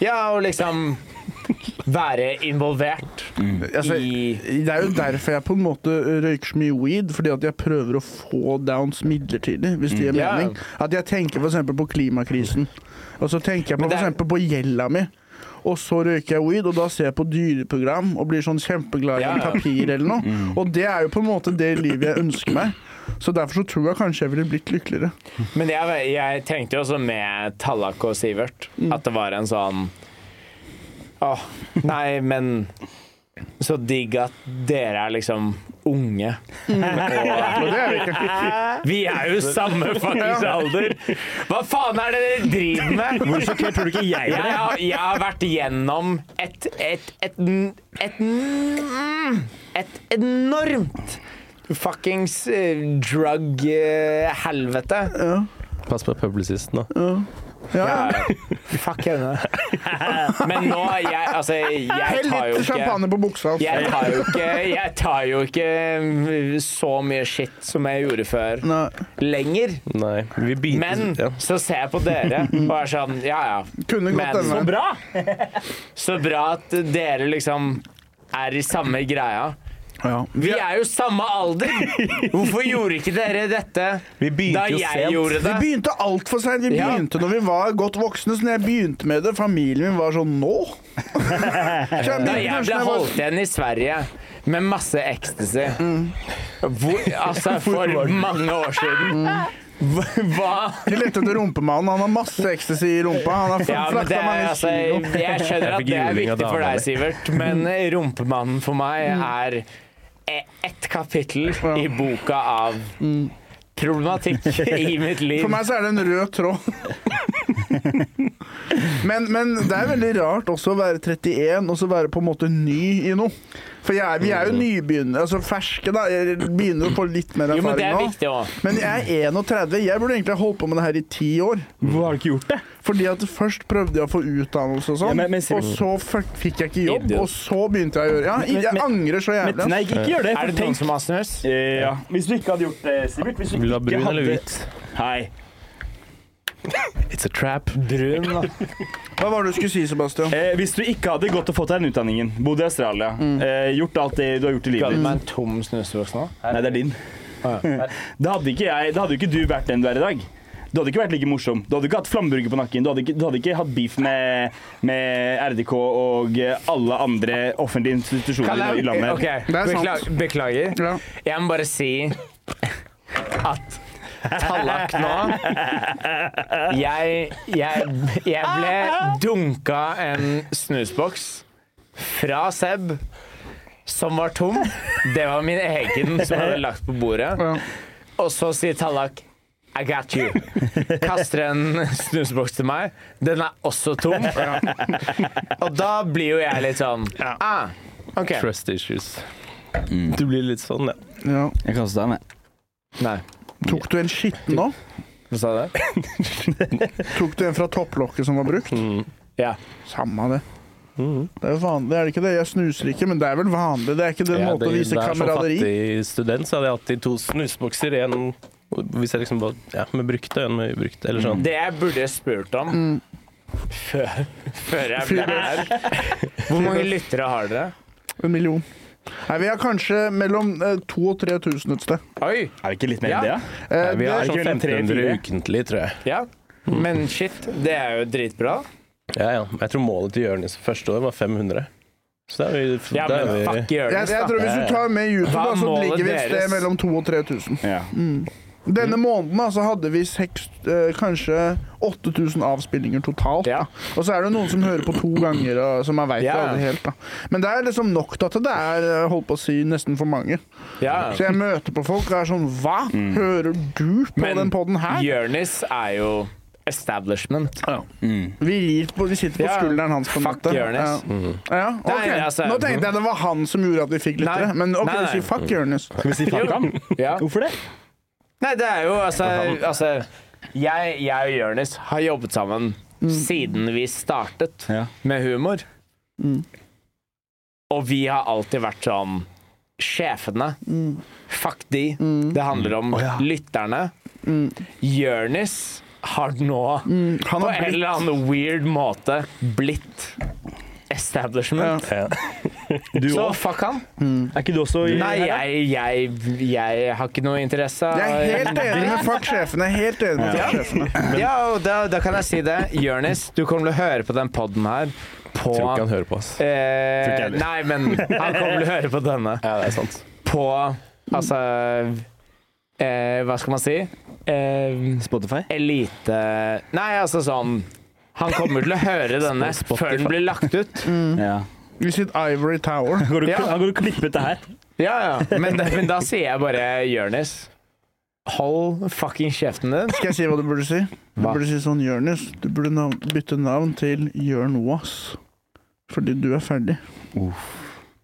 Ja, og liksom være involvert
Altså,
i
det er jo derfor jeg på en måte røyker så mye weed, fordi at jeg prøver å få downs midlertidig, hvis det gir
Mm. Ja.
mening. At jeg tenker f.eks. på klimakrisen, og så tenker jeg
Men
på
det er-
f.eks. på gjelda mi. Og så røyker jeg weed, og da ser jeg på dyreprogram og blir sånn kjempeglad i
Ja, Mm.
en
ja.
papir eller noe. Og det er jo på en måte det livet jeg ønsker meg. Så derfor så tror jeg kanskje jeg ville blitt lykkeligere.
Men jeg, jeg tenkte jo også med Tallak og Sivert at det var en sånn Åh, nei, men så digg at dere er liksom unge.
Og det er vi ikke.
Vi er jo samme fuckings alder! Hva faen er det dere driver med?
Hvor sjokkert tror du ikke jeg
Jeg
ble?
har, jeg har vært gjennom et et, et, n- et, n- et enormt fuckings eh, drug eh, helvete.
Pass på publicisten, da.
Fuck henne. Men nå jeg, Altså, jeg
Hell
tar jo
litt champagne
ikke
på buksa. altså.
jeg tar, jo ikke, jeg tar jo ikke mm, så mye shit som jeg gjorde før
Nei.
lenger.
Nei. Vi biter
Men
ja.
så ser jeg på dere og er sånn Ja ja,
Kunne
Men-
gått denne.
Bra!
så bra at dere liksom er i samme greia.
Ja.
Vi er jo samme alder! Hvorfor gjorde ikke dere dette
Vi
da
begynte jo
jeg
sent.
gjorde
Vi
det?
begynte altfor seint. Vi
Ja.
begynte når vi var godt voksne. Så når jeg begynte med det, familien min var sånn Nå? Så jeg
Da
begynte
jeg ble
kanskje når jeg var-
holdt igjen i Sverige med masse ecstasy Hvor, Altså, for mange år siden. Hva
Vi lette etter rumpemannen. Han har masse ecstasy i rumpa. Han har
ja, men det,
frakta
er-
mange
altså,
kilo.
Jeg skjønner at
fikk
det er
juling av
viktig for
dama mi.
deg, Sivert, men rumpemannen for meg er e- ett kapittel i boka av problematikk i mitt liv.
For meg så er det en rød tråd. Men, men det er veldig rart også å være 31 og så være på en måte ny i noe. For jeg, er- vi er jo
Mm.
nybegynnere, altså ferske, da. Jeg begynner å få litt mer
Jo, men det
erfaring
er
nå.
viktig òg.
Men jeg er 31. Jeg burde egentlig ha holdt på med det her i ti år.
Hvorfor har du ikke gjort det?
Fordi at først prøvde jeg å få utdannelse og sånn,
Ja, men- men-
og så fuck- fikk jeg ikke jobb.
Idiot.
Og så begynte jeg å gjøre Ja,
Men-
jeg
men-
angrer så
Men,
jævlig. ass.
nei, ikke, ikke gjør det.
Er
For
det noen
tenk,
som har snus?
Eh, ja. Hvis du ikke hadde gjort det, Sivert Hvis du
Vil du ha
ikke
brun
hadde-
eller hvit?
Hei.
It's a trap.
Brun, da.
Hva var det du skulle si, Sebastian?
Eh, hvis du ikke hadde gått og fått deg den utdanningen, bodd i Australia, eh, gjort alt det du har gjort i livet
Ga du
ditt
meg en tom snusboks nå?
Nei, det er din. Ah, Da hadde ikke jeg Da hadde ikke du vært den du er i dag. Du hadde ikke vært like morsom. Du hadde ikke hatt flamburger på nakken. Du hadde ikke, du hadde ikke hatt beef med, med RDK og eh, alle andre offentlige
Kan
institusjoner i
jeg,
landet.
ok,
er sant.
beklager, beklager.
Ja.
Jeg må bare si at Tallak nå jeg, jeg, jeg ble dunka en snusboks fra Seb som var tom. Det var min egen som jeg hadde lagt på bordet.
Ja.
Og så sier Tallak I got you. Kaster en snusboks til meg. Den er også tom. Og da blir jo jeg litt sånn ah, OK.
Trust issues. Du blir litt sånn, ja.
Ja.
Jeg kaster deg med.
Nei.
Tok du en skitten nå?
Hva sa du?
Tok du en fra topplokket som var brukt?
Ja.
Samme det. Det er jo vanlig, er det ikke det? Jeg snuser ikke, men det er vel vanlig? Det er ikke den
Ja,
måten å vise
det er som
kameraderi
fattig student så hadde jeg alltid to snusbokser. En hvis jeg liksom var ja, med brukte, en med ubrukt. Eller sånn.
Det jeg burde spurt om før, før jeg ble her Hvor mange lyttere har dere?
En million. Nei, vi har kanskje mellom 2000 og 3000 et sted.
Oi!
Er vi ikke litt mer
Ja.
enn det,
Eh,
da?
Vi
det,
har
ikke
sånn
mellom tre og
1500
fire.
ukentlig, tror jeg.
Ja. Men shit, det er jo dritbra.
Ja, ja. Jeg tror målet til Jonis første år var 500. Så da er vi,
Ja,
da
men
er
fuck
vi
jeg,
Jonis,
jeg tror
da.
Hvis du tar med YouTube,
Hva
da,
er
så
målet
ligger vi et sted
deres?
mellom 2000 og 3000.
Ja.
Denne
Mm.
måneden altså, hadde vi seks, eh, kanskje 8000 avspillinger totalt.
Ja.
Og så er det noen som hører på to ganger, og, som jeg veit
Ja.
aldri helt. Da. Men det er liksom nok til at det er eh, holdt på å si, nesten for mange.
Ja. Mm.
Så jeg møter på folk og er sånn Hva? Hører du på
Men
den podden her?
Jonis er jo establishment.
Mm.
Vi, rir på, vi sitter på
Ja.
skulderen hans, på en
Fuck
måte.
Jonis.
Ja.
Mm.
Ja,
Nei,
ok.
altså-
Nå tenkte jeg det var han som gjorde at vi fikk
Nei.
lyttere, men OK,
Nei,
du
nei.
sier fuck Jonis.
Skal vi si fuck ham?
Ja.
Hvorfor det?
Nei, det er jo altså, altså jeg, jeg og Jonis har jobbet sammen
Mm.
siden vi startet
Ja.
med humor.
Mm.
Og vi har alltid vært sånn Sjefene.
Mm.
Fuck de. Det handler om lytterne. Jonis har nå
Mm. Han
på
har
en
blitt
eller annen weird måte blitt establishment.
Du
Så
òg?
fuck han.
Er ikke du også i
Nei, jeg, jeg, jeg har ikke noe interesse av
Jeg er helt enig med fuck sjefene. Helt enig med fuck sjefene.
Ja, og da, da kan jeg si det. Jonis, du kommer til å høre på den podden her på
Tror ikke han hører på oss.
eh,
heller.
Nei, men han kommer til å høre på denne
Ja, det er sant.
på Altså eh, Hva skal man si? Eh,
Spotify?
elite Nei, altså sånn Han kommer til å høre denne før den blir lagt ut.
Ja.
Vi sitter Ivory Tower.
Går du,
Ja.
Han går og klipper ut det her.
Ja, ja. Men, men da sier jeg bare Jonis, hold fucking kjeften din.
Skal jeg si hva du burde si? Du
Hva?
burde si sånn Jonis. Du burde nav bytte navn til Jørn Waas. Fordi du er ferdig.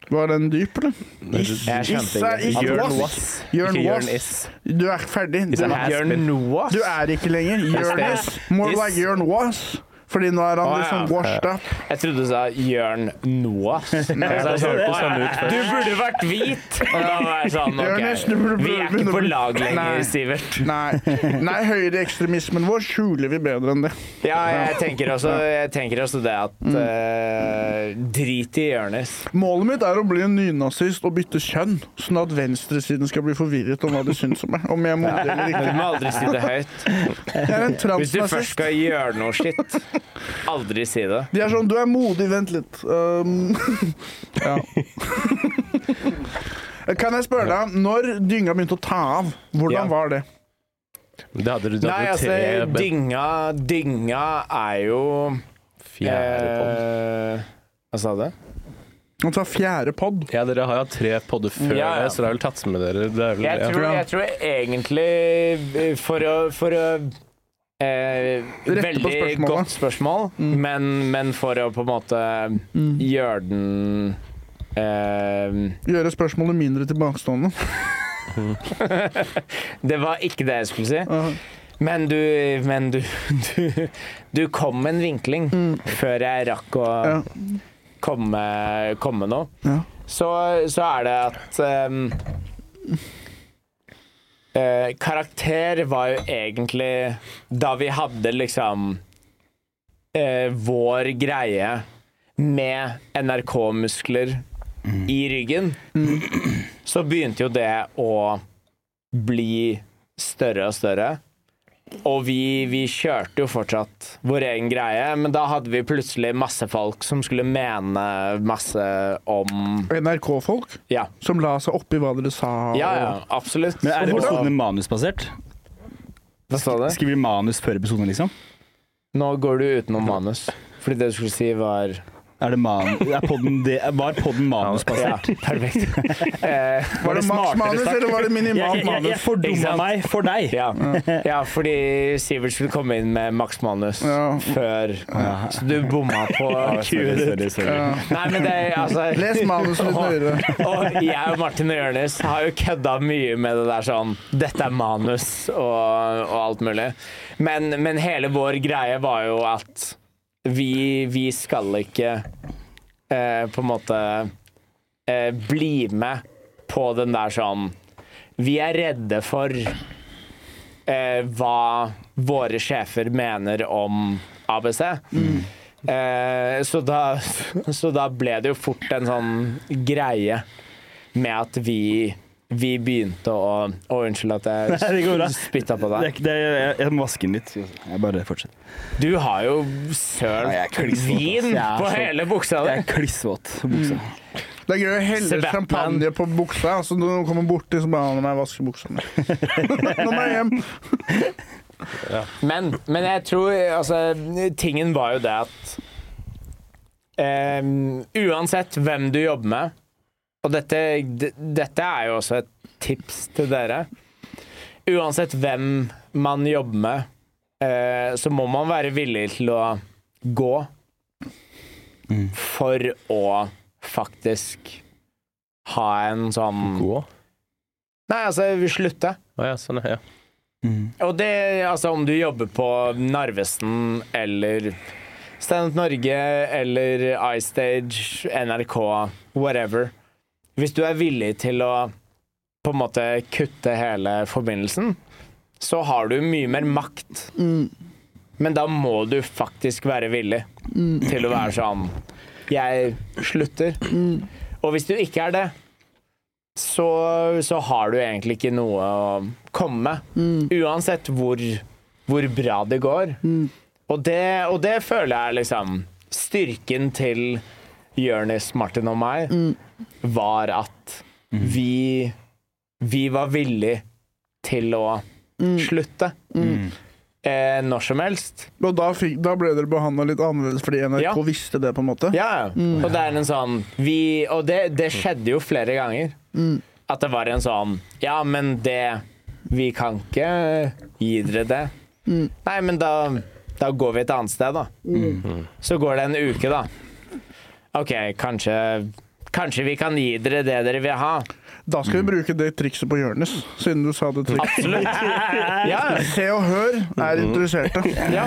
Var den dyp, eller?
Jeg skjønte
Issa-
ikke.
Issa-
Jørn
Wass.
Wass.
Jørn
Ikke Jørn
Waas.
Is.
Du er ikke ferdig. Du,
Jørn Wass.
du er ikke lenger Jørnis. Må du
Is.
være Jørn Waas? Fordi nå er han
Å, ja.
liksom washed up.
Jeg trodde du sa Jørn Noah.
det hørtes sånn ut
Du burde vært hvit! Og da var jeg sånn,
Jonas, du
ok,
burde-
vi er ikke på lag
Nei.
lenger, Sivert.
Nei, Nei høyreekstremismen vår skjuler vi bedre enn det.
Ja, jeg tenker også, jeg tenker også det at eh, Drit i Jonis.
Målet mitt er å bli en nynazist og bytte kjønn, sånn at venstresiden skal bli forvirret om hva de syns om meg. Om jeg er modig eller
Men
ikke.
du må aldri si det høyt.
Jeg er en
Hvis du først
transnazist.
skal gjøre noe shit, aldri si det.
De er sånn 'du er modig, vent litt'. Um, ja. Kan jeg spørre deg, når dynga begynte å ta av, hvordan
Ja.
var det?
Det hadde du, du
Nei,
hadde
altså,
tre
dynga, dynga er jo
fjerde podd.
eh, Hva sa du?
Han sa fjerde pod.
Ja, dere har jo hatt tre podder før
Ja, ja.
det, så det har vel tatt med dere. Det er vel,
Jeg tror,
ja.
jeg tror egentlig eh, for å, for å Eh,
Rette på
veldig
spørsmålet. Mm.
godt spørsmål, men, men for å på en måte gjøre den eh,
Gjøre spørsmålet mindre tilbakestående.
Det var ikke det jeg skulle si.
Ja.
Men du, men du, du, du kom med en vinkling før jeg rakk å
Mm. Ja.
komme, komme nå.
Ja.
Så, så er det at ehm, eh, Karakter var jo egentlig da vi hadde liksom eh, vår greie med NRK-muskler i ryggen, så begynte jo det å bli større og større. Og vi, vi kjørte jo fortsatt vår egen greie, men da hadde vi plutselig masse folk som skulle mene masse om
NRK-folk
Ja,
som la seg oppi hva dere sa. og-
ja, ja absolutt.
Men er
Og-
episodene manusbasert?
Hva sa du?
Skriver du manus før episoden, liksom?
Nå går du utenom manus. Fordi det du skulle si, var
Er det man er podden det, Var podden
Ja,
manusbasert?
perfekt. Eh,
Var det maks
smartere
manus,
sagt?
eller var det minimalt
Jeg, jeg,
manus?
jeg fordumma meg for deg.
ja. ja, fordi Sivert skulle komme inn med maks manus
Ja.
før Så du bomma på
Sorry,
kuet.
sorry, sorry.
Ja.
Nei, men det altså
Les manuset litt nøyere.
Og jeg og Martin og Jonis har jo kødda mye med det der sånn Dette er manus og, og alt mulig. Men, men hele vår greie var jo at vi, vi skal ikke eh, på en måte eh, bli med på den der sånn Vi er redde for eh, hva våre sjefer mener om ABC.
Mm.
Eh, så, da, så da ble det jo fort en sånn greie med at vi vi begynte å Å, unnskyld at
Nei, det går bra.
jeg spytta på
Det er
deg.
ikke- det er- jeg, jeg må vaske den litt. Jeg bare fortsetter.
Du har jo søl
Nei, jeg er klissvåt,
vin
ass. Jeg er
på
så-
hele buksa
Jeg
di.
er klissvåt på buksa.
Det er gøy å helle
Se Batman.
champagne på buksa, så når noen kommer borti, så bare «Nå må jeg vaske buksa mi. Nå må jeg hjem.
Men, men jeg tror altså, Tingen var jo det at eh, Uansett hvem du jobber med Og dette, d- dette er jo også et tips til dere. Uansett hvem man jobber med, eh, så må man være villig til å gå for å faktisk ha en sånn
Gå?
Nei, altså, slutte.
Å ja, sånn, ja.
Mm.
Og det, altså om du jobber på Narvesen eller Stand Up Norge eller iStage, NRK, whatever Hvis du er villig til å på en måte kutte hele forbindelsen, så har du mye mer makt. Men da må du faktisk være villig til å være sånn Jeg slutter. Og hvis du ikke er det, så, så har du egentlig ikke noe å komme med uansett hvor, hvor bra det går. Og, det, og det føler jeg liksom Styrken til Jonis, Martin og meg var at vi Vi var villig til å slutte eh, når som helst.
Og da, fikk, da ble dere behandla litt annerledes fordi NRK
Ja.
visste det, på en måte.
Ja, ja. og det er en sånn vi, Og det, det skjedde jo flere ganger. At det var en sånn Ja, men det Vi kan ikke gi dere det. Nei, men da, da går vi et annet sted, da. Så går det en uke, da. OK, kanskje Kanskje vi kan gi dere det dere vil ha.
Da skal vi bruke det trikset på Jonis, siden du sa det trikset.
Absolutt. Ja,
Se og Hør er interesserte.
ja.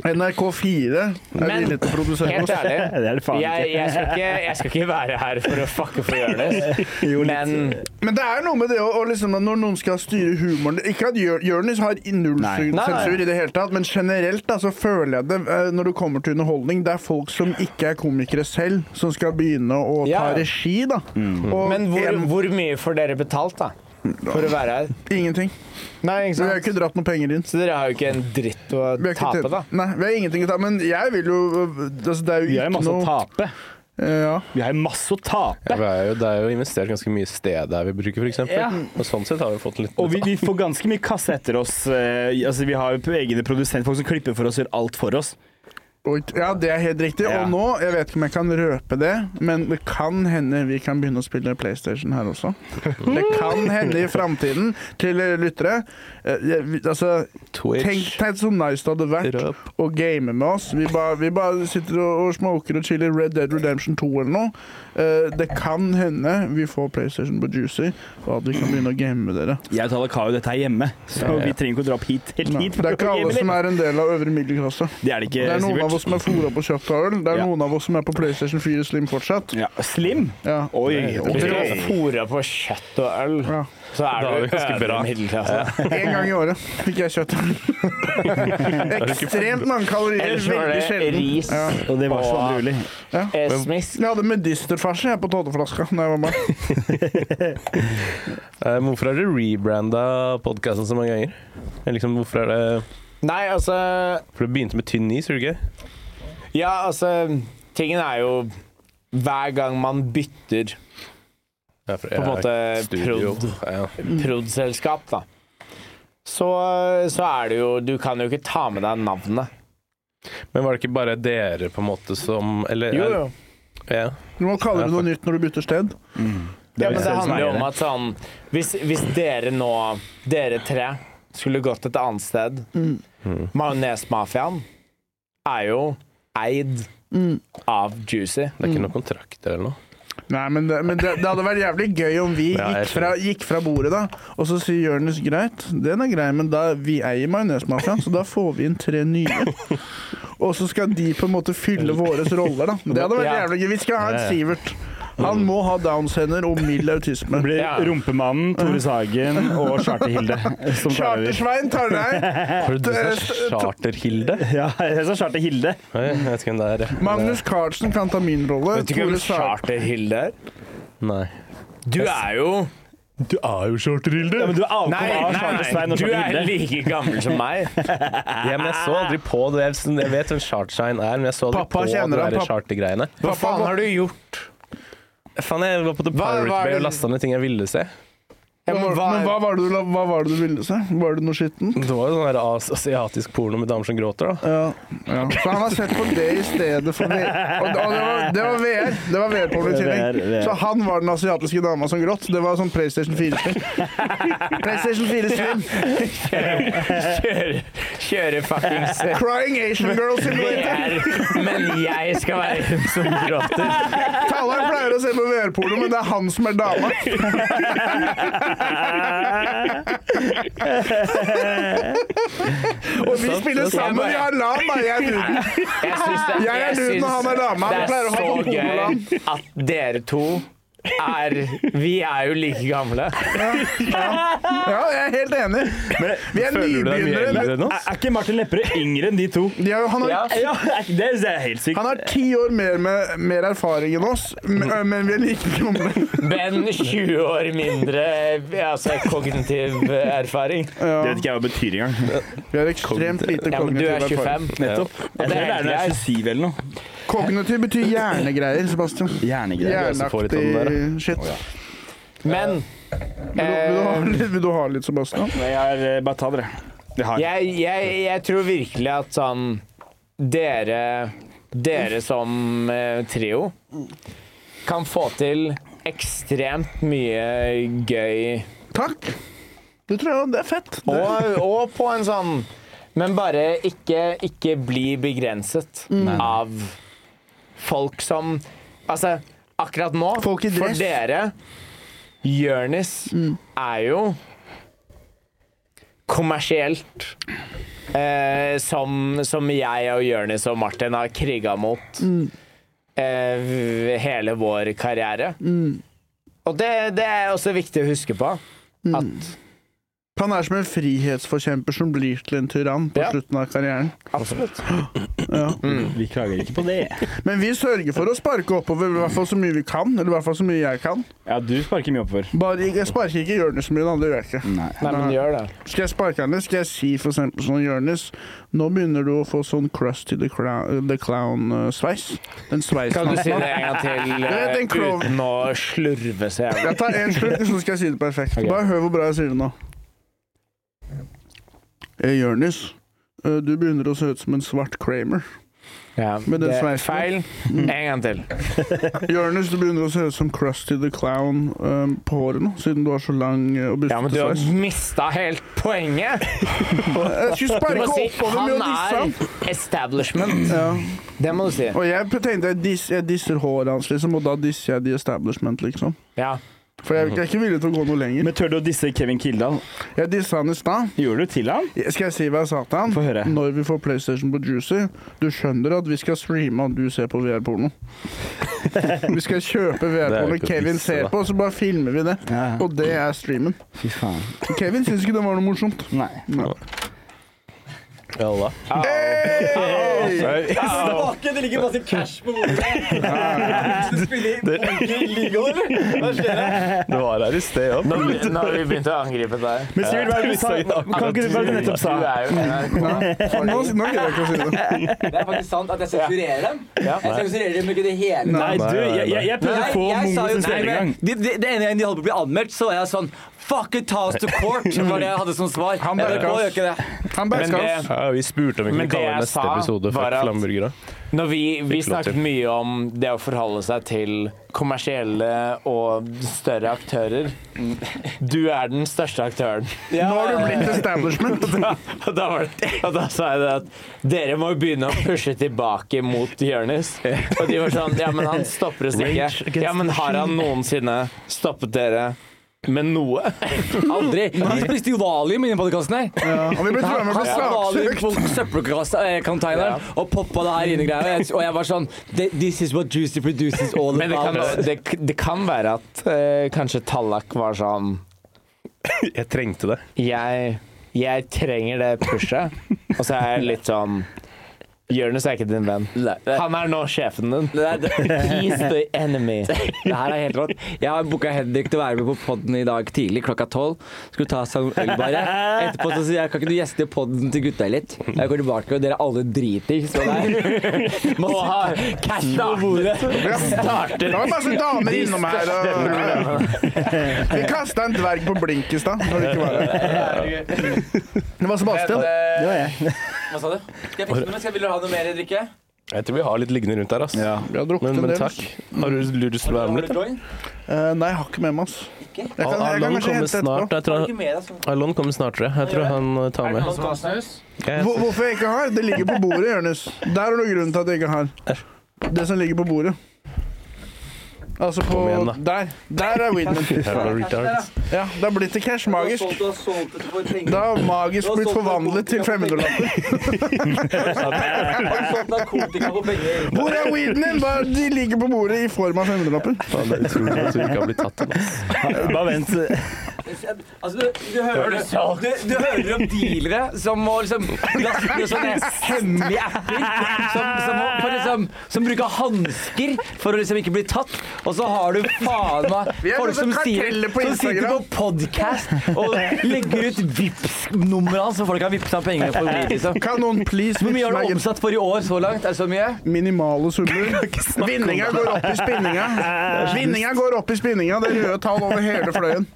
NRK4 er
Men-
villig til å produsere
Helt
oss.
ærlig.
Det er det faen
Jeg,
ikke.
jeg, skal ikke, jeg skal ikke være her for å fucke for Jonis, men
Men det er noe med det å, å liksom, at når noen skal styre humoren Ikke at Jør- Jonis har i null
Nei.
sen-
Nei, nei.
sensur i det hele tatt, men generelt da, så føler jeg det eh, når det kommer til underholdning. Det er folk som ikke er komikere selv, som skal begynne å ta
Ja.
regi. da. Og
Men hvor,
en,
hvor mye får dere betalt, da? For å være her?
ingenting.
Nei, ikke
Vi har jo
sant?
ikke dratt noe penger inn.
Så dere har jo ikke en dritt å
Vi har ikke
tape,
tjent-
da?
Nei, vi har ingenting å ta, men jeg vil jo altså, Det er jo
Vi
ikke
har jo masse
noe
å tape.
Eh, Ja.
Vi har jo masse å tape.
Ja, vi er jo, det er jo investert ganske mye sted der vi bruker, f.eks. eksempel Og sånn sett har vi fått litt
Og vi, vi får ganske mye kasse etter oss. eh, altså, vi har jo egne produsentfolk som klipper for oss og gjør alt for oss.
Oi, Ja, det er helt riktig.
Ja.
Og nå, jeg vet ikke om jeg kan røpe det, men det kan hende vi kan begynne å spille PlayStation her også. Det kan hende i framtiden, til lyttere. Eh, jeg- vi- Altså, tenk,
Twitch.
tenk så nice det hadde vært
Røp.
å game med oss. Vi bare, vi bare sitter og, og smoker og chiller Red Dead Redemption 2 eller noe. Eh, det kan hende vi får PlayStation på Juicy, og at vi kan begynne å game med dere.
Jeg og Tallak har jo dette her hjemme, så
Ja, ja.
vi trenger ikke å dra opp hit helt
Nei,
hit.
Det er ikke alle som er en del av øvre middelklasse.
Det er det ikke,
Det er noen
Sivert.
av oss som er fôra på kjøpt og øl. Det er
Ja.
noen av oss som er på PlayStation 4 Slim fortsatt.
Ja, slim?
Ja.
Oi,
Om
ok.
du har fora på kjøtt og øl,
Ja.
så er
Da er
du altså.
det ganske
øvre
bra.
middelklasse.
En gang i året fikk jeg kjøtt. Ekstremt mange kalorier.
Ellers var
Veldig
det
sjelden.
ris,
Ja.
Og det var 22. juli.
eh, smisk
Jeg hadde medisterfarse jeg, på tåteflaska da jeg var barn.
Eh, hvorfor har dere rebranda podkasten så mange ganger? Eller Liksom, hvorfor er det
Nei, altså
For det begynte med tynn is, gjorde det ikke?
Ja, altså Tingen er jo hver gang man bytter
Ja, for-
på en
ja,
måte eh,
studio. Ja.
prod.selskap, da, så, så er det jo Du kan jo ikke ta med deg navnet.
Men var det ikke bare dere på en måte som Eller eh, Ja.
Du må kalle det noe nytt når du bytter sted.
Ja,
er
men
jo
det
selv som
handler jo
eier
om
det.
at sånn Hvis, hvis dere nå, dere tre, skulle gått et annet sted
Mm.
Majonesmafiaen er jo eid
Mm.
av Juicy.
Det er ikke noen kontrakter eller noe?
Nei, men det, men det, det hadde vært jævlig gøy om vi
Ja, jeg
gikk fra, gikk fra bordet, da, og så sier Jonis greit, den er grei, men da, vi eier Majonesmafiaen, så da får vi inn tre nye. Og så skal de på en måte fylle våre roller, da. Det hadde vært
Ja.
jævlig gøy. Vi skal ha en Sivert. Han må ha Downs-hender og mild autisme.
Det blir
Ja.
Rumpemannen, Tore Sagen og Charter-Hilde som tar over.
Charter-Svein tar deg!
Eh,
Har du sagt Charterhilde?
Ja, jeg sa Charter-Hilde.
Nei, Jeg vet ikke hvem det er.
Magnus Carlsen kan ta min rolle.
Vet du ikke hvem
Tore Sagen-
Charter-Hilde er?
Nei.
Du er jo
Du er jo Charterhilde!
Ja, men du er avkom
Nei,
av
nei,
Charter-Svein
nei.
og
du er
Charter-Hilde.
like gammel som meg.
Ja, men jeg så aldri på det. Jeg- Jeg vet hvem Chartshine er, men jeg så aldri
Pappa
på
kjenner
de
han,
der
pappa.
chartergreiene.
Hva faen har du gjort?
Faen, jeg var på The
Hva- hva er
Pirate Bay
det-
og lasta ned ting jeg ville se.
Ja,
Men hva var det du, la- hva var det du ville se? Var det noe skittent?
Det var jo sånn der as- asiatisk porno med damer som gråter, da.
Ja. Så han har sett på det i stedet for VR. Og, og det, var, det var VR. Det var VR-porno i
Det er
tillegg.
VR.
Så han var den asiatiske dama som gråt. Det var sånn PlayStation 4-spill. PlayStation 4-spill.
Kjøre, kjøre fuckings
Crying Asian Girl Simulator.
VR, men jeg skal være hun som gråter.
Tallar pleier å se på VR-porno, men det er han som er dama. Og vi spiller sammen. Vi har LAN, da. Jeg er nuden.
Jeg, syns det,
Jeg er nuden,
syns
og han er dama.
Det
Han
er
pleier å ha
så
sånn pornoland.
gøy at dere to er Vi er jo like gamle.
Ja, jeg er helt enig. Vi er
Føler du deg mye
nybegynnere.
eldre enn
Er
oss?
er ikke Martin Lepperød yngre enn de to?
De har, han har
Ja.
Ja, det er helt sykt.
Han har ti år mer, med, mer erfaring enn oss, men, men vi er like gamle.
Men 20 år mindre altså, kognitiv erfaring.
Det vet ikke jeg hva det betyr engang.
Vi har ekstremt lite
Ja, men du
kognitiv
er
erfaring.
25.
Nettopp. Jeg tror det er når jeg er 27 eller noe.
Kognitiv betyr hjernegreier, Sebastian.
Hjernegreier. altså,
er også for litt av
Hjerneaktig
den
shit.
Men
Vil du, vil, du ha
eh,
litt, vil du ha litt, Sebastian?
Jeg har eh, bare ta dere. Det har jeg.
jeg, jeg, jeg tror virkelig at sånn Dere Dere som eh, trio kan få til ekstremt mye gøy.
Takk. Det tror jeg det er fett. Det,
Og, og på en sånn Men bare ikke, ikke bli begrenset
Mm.
av folk som Altså, akkurat nå,
Folk i dress. Mm.
for dere Jonis er jo kommersielt eh, som, som jeg og Jonis og Martin har kriga mot
Mm.
eh, hele vår karriere.
Mm.
Og det, det er også viktig å huske på.
Mm.
At
han er som en frihetsforkjemper som blir til en tyrann på
Ja.
slutten av karrieren.
Absolutt.
Vi klager ikke på det.
Men vi sørger for å sparke oppover i hvert fall så mye vi kan. Eller i hvert fall så mye jeg kan.
Ja, du sparker mye oppover.
Bare ikke- jeg sparker ikke Jonis så mye, da. Det gjør jeg ikke.
Nei.
Nei, men gjør det.
Skal jeg sparke henne? Skal jeg si for eksempel sånn Jonis, nå begynner du å få sånn Crusty the, Clown- the Clown-sveis. Den sveisen
Kan du
hans.
si det en gang til
Det er
eh,
en krov.
uten å slurve så jævlig?
Jeg tar en slurk, så skal jeg si det perfekt.
Ok.
Bare hør hvor bra jeg sier det nå. eh, Hey, Jonis, eh, du begynner å se ut som en svart Kramer.
Ja.
Med den
Det er
sveisen.
feil. En gang til.
Jonis, du begynner å se ut som Krusty the Clown um, på håret nå, siden du har så lang eh, og
Ja, men
bustete
du har
sveis. Eh,
mista helt poenget!
Jeg skulle
Du
sparke
må si
oppover med å
han
disse han.
er establishment.
Ja.
Det må du si.
Og jeg tenkte jeg, diss, jeg disser håret hans, liksom, og da disser jeg The Establishment, liksom.
Ja.
For jeg, jeg er ikke villig til å gå noe lenger.
Men tør du å disse Kevin Kildahl?
Jeg dissa han i stad.
Gjorde du til han?
Skal jeg si hva jeg sa til han?
Få høre.
Når vi får PlayStation på Juicy, du skjønner at vi skal streame at du ser på VR-porno. vi skal kjøpe
jo
VR-porno
ikke
Kevin
vits,
ser
da.
på, så bare filmer vi det.
Ja.
Og det er streamen.
Fy faen.
Kevin syns ikke det var noe morsomt.
Nei.
Ja da.
Hey!
Staken, det ligger masse cash på bordet. Du spiller i Monkey League, eller? Hva skjer her?
Du var her i sted òg.
Når, når vi begynte å angripe deg.
Men Sivert, hva er det du sa? Kan ikke du hva er det du nettopp sa?
Du er jo NRK.
Nå, nå gidder jeg ikke å si det.
Det er faktisk sant at jeg sensurerer dem. Jeg sensurerer dem ikke i det hele
Nei, du, jeg, jeg, jeg prøvde å få
jeg sa
Mongo som
jo nei,
stemme i gang.
men Det det- det ene gangen de holdt på å bli anmeldt, så var jeg sånn Fuck it, ta oss to court! var det jeg hadde som svar.
Han
Jeg
bare
bare,
gass.
«Å, gjør ikke det.
Han
Men
bæska
eh,
det-
oss.
Ja, vi spurte om vi
Men
kunne
det
kalle
jeg
neste
sa
episode
var
Fuck
at-
flamburgere.
Når vi, vi
Ikke lov til.
snakket mye om det å forholde seg til kommersielle og større aktører. Du er den største aktøren.
Nå har du blitt establishment.
Og da, var det, og da sa jeg det at dere må jo begynne å pushe tilbake mot Jonis. Og de var sånn Ja, men han stopper oss ikke. Ja, men har han noensinne stoppet dere med noe?
Aldri. Vi spiste jo valium i den podkasten her.
Ja, og vi ble trua med å
Han
bli
hadde valium
saksøkt.
på søppelcontaineren
Ja.
og poppa det her inni greia. Og jeg- Og jeg var sånn This is what juicy produces all
Men det kan,
about.
det, det kan være at eh, kanskje Tallak var sånn
Jeg trengte det.
jeg, jeg trenger det pushet. Og så er jeg litt sånn Jonis er ikke din venn.
Nei, det-
Han er nå sjefen din.
det er- det-
He's the enemy.
Det her er helt rått. Jeg har booka Henrik til å være med på podden i dag tidlig klokka tolv. Skulle ta seg en øl, bare. Etterpå så sier jeg kan ikke du gjeste podden til gutta litt? Jeg går tilbake, og dere alle driter. Så der.
Og har cash på bordet. Starter
Det var masse damer innom her. Og... Vi kasta en dverg på blink i stad. når Det ikke var her. Det var Sebastian.
eh,
Det var jeg.
Hva sa du? eh, Skal jeg fikse noe? Skal, vil dere ha noe mer å drikke?
Jeg tror vi har litt liggende rundt her, ass.
Vi har drukket
Men,
en
men
del.
takk. Har du lyst til å være med litt? da?
Eh, nei, jeg har ikke med meg, ass. Jeg kan, jeg kan kanskje
Alon kommer
hente etterpå.
snart. Jeg tror han,
altså?
Alon kommer snart, tror jeg. Jeg tror han eh, tar med. Jeg,
Hvor, hvorfor jeg ikke har? Det ligger på bordet, Jonis. Der er det grunnen til at jeg ikke har. Det som ligger på bordet. Altså på
Kom igjen, da.
Der. Der er Widman.
her er det retards.
Ja, da blir det cash magisk.
Du har solgt det for penger.
Da har magisk blitt forvandlet til 500-lapper.
Du har solgt narkotika for penger.
Hvor er weeden din? Bare de ligger på bordet i form av 500-lapper.
Faen, det er utrolig at vi ikke har blitt tatt. ass.
Bare vent.
Altså, du, du, hører, du, du hører om dealere som må liksom laste ned sånne hemmelige apper. Som, som, må, for liksom, som bruker hansker for å liksom ikke bli tatt. Og så har du faen meg
Vi er
folk
sånn
som,
som
sier,
karteller på
som sitter på
Instagram.
podcast og legger ut Vipps-numrene hans, så folk kan vippse av pengene for weed. Liksom.
Kan noen please
Hvor mye
vippse
har
meg
du
en
omsatt for i år så langt? Er det så mye?
minimale summer? Vinninga går opp i spinninga. Vinninga går opp i spinninga. Det er røde tall over hele fløyen.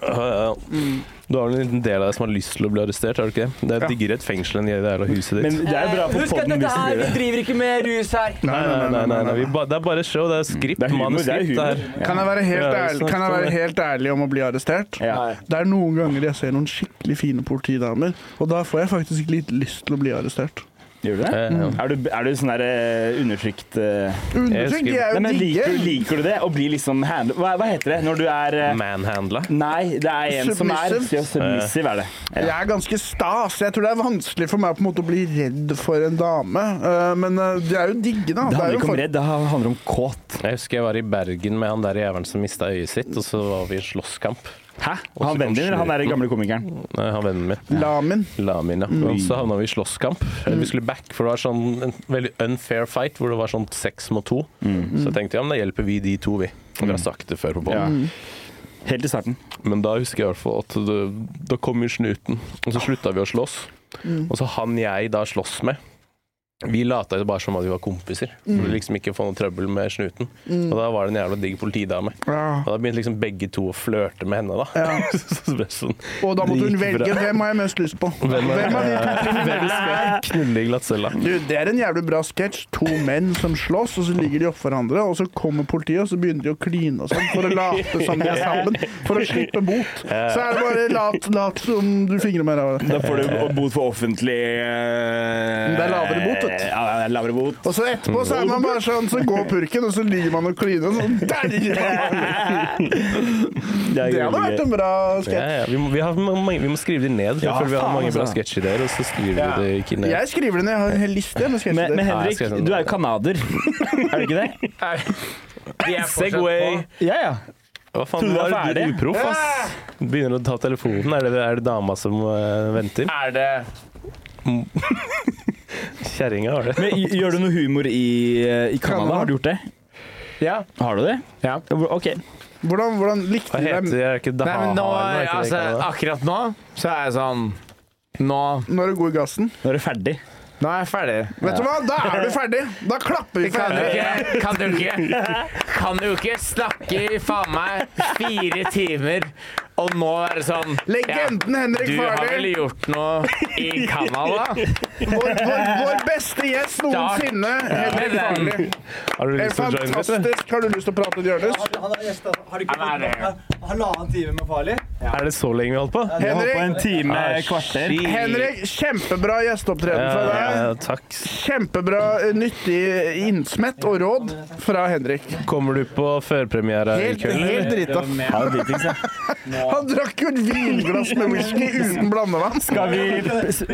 Ja, ja, ja. Du har en liten del av deg som har lyst til å bli arrestert, har du ikke det? Det er diggere et fengsel enn i det jævla huset ditt.
Men det er bra for
Husk at
podden
dette
hvis du
her,
blir
vi
det.
driver ikke med rus her.
Nei,
Nei, nei, nei, nei. Vi ba, det er bare show. Det er skript.
Det er humor, det er
manuskript,
humor.
det her.
Kan jeg være helt
Ja, vi
ærlig, kan jeg
snakket om
være
det.
helt ærlig om å bli arrestert?
Ja.
Det er noen ganger jeg ser noen skikkelig fine politidamer, og da får jeg faktisk litt lyst til å bli arrestert.
Gjør du det?
Eh, ja.
Er du, er du sånn der eh, undertrykt eh,
Undertrykk,
elsker-
de er jo
Nei, men liker, du-
digge.
liker du det? Å bli liksom hand... Hva, hva heter det når du er eh,
Manhandla.
Nei, det er en som er
Submissive.
Ja, Submissive er det.
Jeg er ganske stas. Jeg tror det er vanskelig for meg på en måte å bli redd for en dame. Eh, Men eh, de er jo digge, da. Det
Det
er
handler
jo
ikke om
folk-
redd, det handler om kåt.
Jeg husker jeg var i Bergen med han der jævelen som mista øyet sitt, og så var vi i slåsskamp.
Hæ?
Og så
Han vennen din, eller han der gamle komikeren?
Nei, han vennen min.
Lamin.
Lamin, ja. Og så havna vi i slåsskamp. Eller Vi skulle back, for det var sånn en veldig unfair fight hvor det var sånn seks mot to.
Mm.
Mm.
Så jeg tenkte ja, men da hjelper vi de to, vi. Og vi har sagt det før på
Ja.
båten.
Helt i starten.
Men da husker jeg i hvert fall at det, da kom jo snuten, og så slutta vi å slåss. Og så han jeg da slåss med, Vi lata jo bare som at vi var kompiser, for å liksom ikke få noe trøbbel med snuten.
Mm.
Og da var det en jævla digg politidame.
Ja.
Og da begynte liksom begge to å flørte med henne, da.
Ja.
så det ble sånn
Og da måtte hun
Det gikk bra.
velge hvem har jeg mest lyst på.
Hvem er,
Hvem av de to
hvem skal knulle i glattcella?
Du, Det er en jævlig bra sketsj. To menn som slåss, og så ligger de oppå hverandre. Og så kommer politiet, og så begynner de å kline og sånn for å late som de er sammen. For å slippe bot. Så er det bare lat, lat som du fingrer med ræva.
Da får du bot for offentlig eh,
Det er lavere bot, vet du.
Ja, det er lavere bot.
Og så etterpå så er man bare sånn, så går purken, og så ligger man og kliner og sånn. Der ligger man! Det hadde vært en bra
Ja,
sketsj.
ja. Vi, må, vi, har mange, vi må skrive de ned. Jeg
Ja,
føler vi har
faen,
mange bra
altså.
sketsjideer, og så skriver
Ja.
vi det ikke ned.
Jeg skriver det ned. Jeg har en hel liste med
Men, men
sketsjer.
Ja, jeg
Henrik,
skal sende
du er
det.
jo canadier, er du ikke det?
Vi er fortsatt
Segway.
på.
Ja, ja.
Hva faen,
Trodde
nå
jeg var
er du
ferdig.
uproff, ass. Begynner å ta telefonen. Er det, er det dama som eh, venter?
Er det
Kjerringa har det.
Men gj- gjør du noe humor i, eh, i Canada?
Canada?
Har du gjort det?
Ja.
Har du det?
Ja.
Hvor- OK.
Hvordan, hvordan likte
Hva
du
heter
dem
det? Er det ikke
Nei,
Daha?
men nå,
eller noe? Er det ikke
altså,
det kallet?
akkurat nå så er jeg sånn Nå,
når du går i gassen?
Nå er du ferdig.
nå er jeg ferdig.
Vet du hva, da er du ferdig! Da klapper vi
Kan du
ferdig.
ikke, kan du ikke, kan du ikke snakke i faen meg fire timer og nå være sånn
Legenden
ja,
Henrik
Du har vel
Farley,
gjort noe i Canada?
vår, vår, vår beste gjest noensinne.
Men
Henrik
den-
Farley.
Har du
Helt
lyst til å joine, vet du?
fantastisk. Har du lyst til å prate, Jonis?
Han har gjesta Har du ikke
Han er
fått med halvannen time med Farley?
Er det så lenge vi holdt på?
På en
Henrik,
time, eh, kvarter.
Henrik, kjempebra gjesteopptreden
Ja,
fra
ja,
deg.
takk.
Kjempebra eh, nyttig innsmett og råd fra Henrik.
Kommer du på førpremiere i
Helt,
kveld?
helt drita.
Ja, det er dritings, ja.
Han drakk jo et vinglass med whisky uten blandevann.
Skal vi s-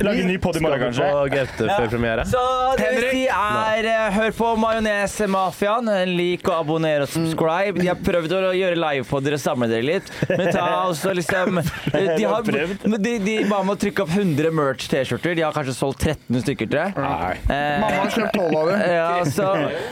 lage en ny pod i morgen,
Skal du
kanskje?
på Gaute-førpremiere?
Så det vil si er eh, Hør på Majones-mafiaen. Lik og abonner og subscribe. De har prøvd å gjøre livepoder og samle dere litt. Men ta også liksom De, har, men de, de ba om å trykke opp 100 merch-T-skjorter. De har kanskje solgt 13 stykker, tror jeg.
Mamma
Eh,
har kjøpt tolv av det.
ja, så,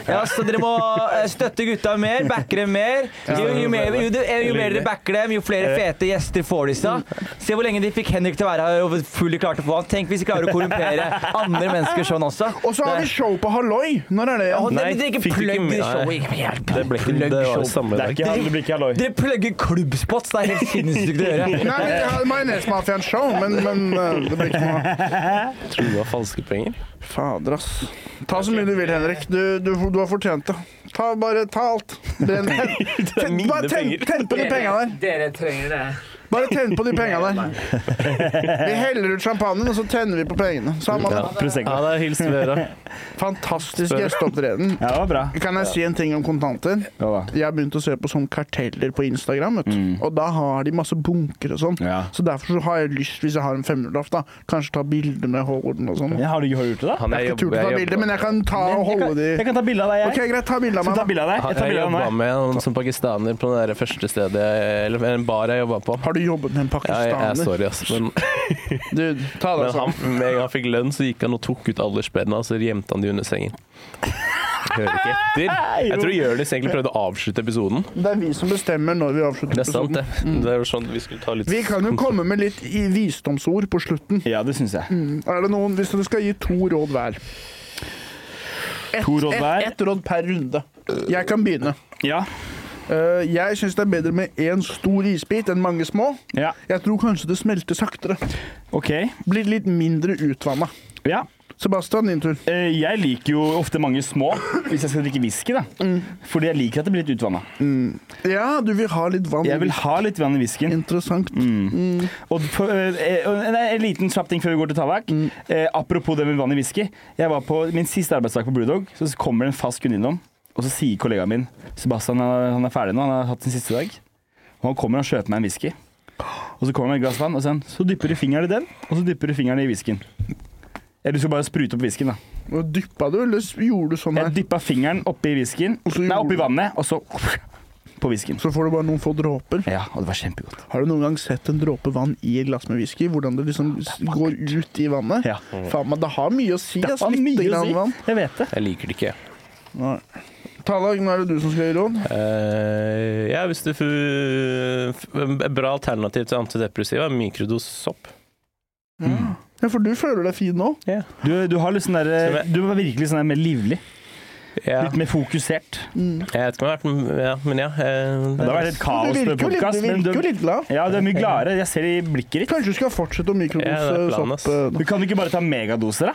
ja, så dere må eh, støtte gutta mer, backe dem mer. Jo, jo, mer, jo, jo, jo mer dere backer dem, jo flere fete gjester får de seg. Se hvor lenge de fikk Henrik til å være her, og hvor full de klarte å få han. Tenk hvis de klarer å korrumpere andre mennesker sånn også.
Og så har vi show på Halloi. Når er det?
Ja,
igjen?
nei,
Nei,
dere ikke
fikk du ikke
plugg
med-
show.
nei.
Ikke- jeg-
Det ble ikke
plugg
det var
show.
jo samme
Det, er
dag.
ikke, det blir ikke halloi.
Dere plugger klubbspots. Det er helt sinnssykt å gjøre.
Nei, vi hadde Majonesmafiaen show, men, men eh, det blir ikke noe
Tror du det var falske penger?
Fader, ass. Ta så mye du vil, Henrik. Du, du, du har fortjent det. Ta bare ta alt. Brenn Ten- Bare tenn tenn på de penga der.
Dere trenger det.
Bare tenn på de penga der. Vi heller ut champagnen, og så tenner vi på pengene. Samme det.
Ja,
Prosecco.
da hilser vi dere.
Fantastisk gjesteopptreden.
Ja, det var bra.
Kan jeg si en ting om kontanter?
Ja,
Jeg har begynt å se på sånn karteller på Instagram, vet du. og da har de masse bunker og sånn.
Mm. Ja.
Så derfor så har jeg lyst, hvis jeg har en femmerlapp, da, kanskje ta bilder med hånden og sånn.
Ja, har du har du gjort det, da?
Han
Jeg har ikke turt å ta bilder, men jeg kan ta og
Jeg
holde
kan,
de
jeg kan ta bilde av deg,
OK,
jeg.
greit, ta bilde av
Skal
meg.
du ta
da.
bilde av deg? Jeg tar
Jeg
bilde av
jobba
meg.
med han som pakistaner på det der første stedet Eller en bar jeg jobba på.
Har du jobbet med en
Ja, jeg er
pakistaner?
sorry, ass. Men,
Du, ta
men
deg
han,
Sånn.
sammen.
med en gang han fikk lønn, så gikk han og tok ut aldersspenna, og så gjemte han de under sengen. Hører ikke etter. Jeg tror Jonis egentlig prøvde å avslutte episoden.
Det er vi som bestemmer når vi avslutter
Det er
episoden.
sant, det.
Mm.
Det er jo sånn vi skulle ta litt
Vi kan jo komme med litt i visdomsord på slutten.
Ja, det syns jeg.
Er det noen, Hvis du skal gi to råd hver Ett
To råd
ett-
hver?
ett råd per runde. Jeg kan begynne.
Ja.
Eh, jeg syns det er bedre med én stor isbit enn mange små.
ja.
Jeg tror kanskje det smelter saktere.
OK.
Blir litt mindre utvanna.
Ja.
Sebastian, din tur.
Eh, Jeg liker jo ofte mange små hvis jeg skal drikke whisky. da. Fordi jeg liker at det blir litt utvanna.
Ja, du vil ha litt vann.
Jeg vil ha litt vann i whiskyen.
Mm. Interessant.
Mm.
Og for, eh, eh, nei, en liten kjapp ting før vi går til tabakk. Eh, apropos det med vann i whisky. Jeg var på min siste arbeidsdag på Brewdog, så kommer det en fast kunde innom. Og så sier kollegaen min Sebastian han han er ferdig nå, han har hatt sin siste dag. Og han kommer og kjøper meg en whisky. Og så kommer han med et glass vann, og sen, så dypper du fingeren i den, og så dypper du fingeren i whiskyen. Eller du skal bare sprute opp whiskyen, da.
Og Dyppa du, eller s- gjorde du sånn her?
Jeg dyppa fingeren oppi whiskyen,
Og så
nei,
gjorde
oppi
du-
vannet, og så på whiskyen.
Så får du bare noen få dråper.
Ja, og det var kjempegodt.
Har du noen gang sett en dråpe vann i et glass med whisky? Hvordan det liksom s- går ut i vannet?
Ja.
Mm.
Faen, men det har mye å si.
Det
ass.
var
Lite
mye å
grann
si.
vann.
Jeg vet det.
Jeg liker det ikke.
Nei. Tallag, nå er det du som skal gi råd.
Eh, ja, hvis du fu- f- Et bra alternativ til antidepressiva er mikrodossopp.
Ja, for du føler deg fin nå.
Ja. Du, du har litt sånn der Du var virkelig sånn der mer livlig.
Ja.
Litt mer fokusert.
Jeg vet ikke om jeg har vært med, ja, men ja. eh,
Det har vært helt
Mm. Du virker
kaos med
jo litt,
podkast,
du
men du,
virker jo litt glad.
ja, du er mye gladere. Jeg ser det i blikket ditt.
Kanskje du skal fortsette å eh,
Ja, det er planen,
mikrodose
ass.
sopp?
Du kan jo ikke bare ta megadoser, da?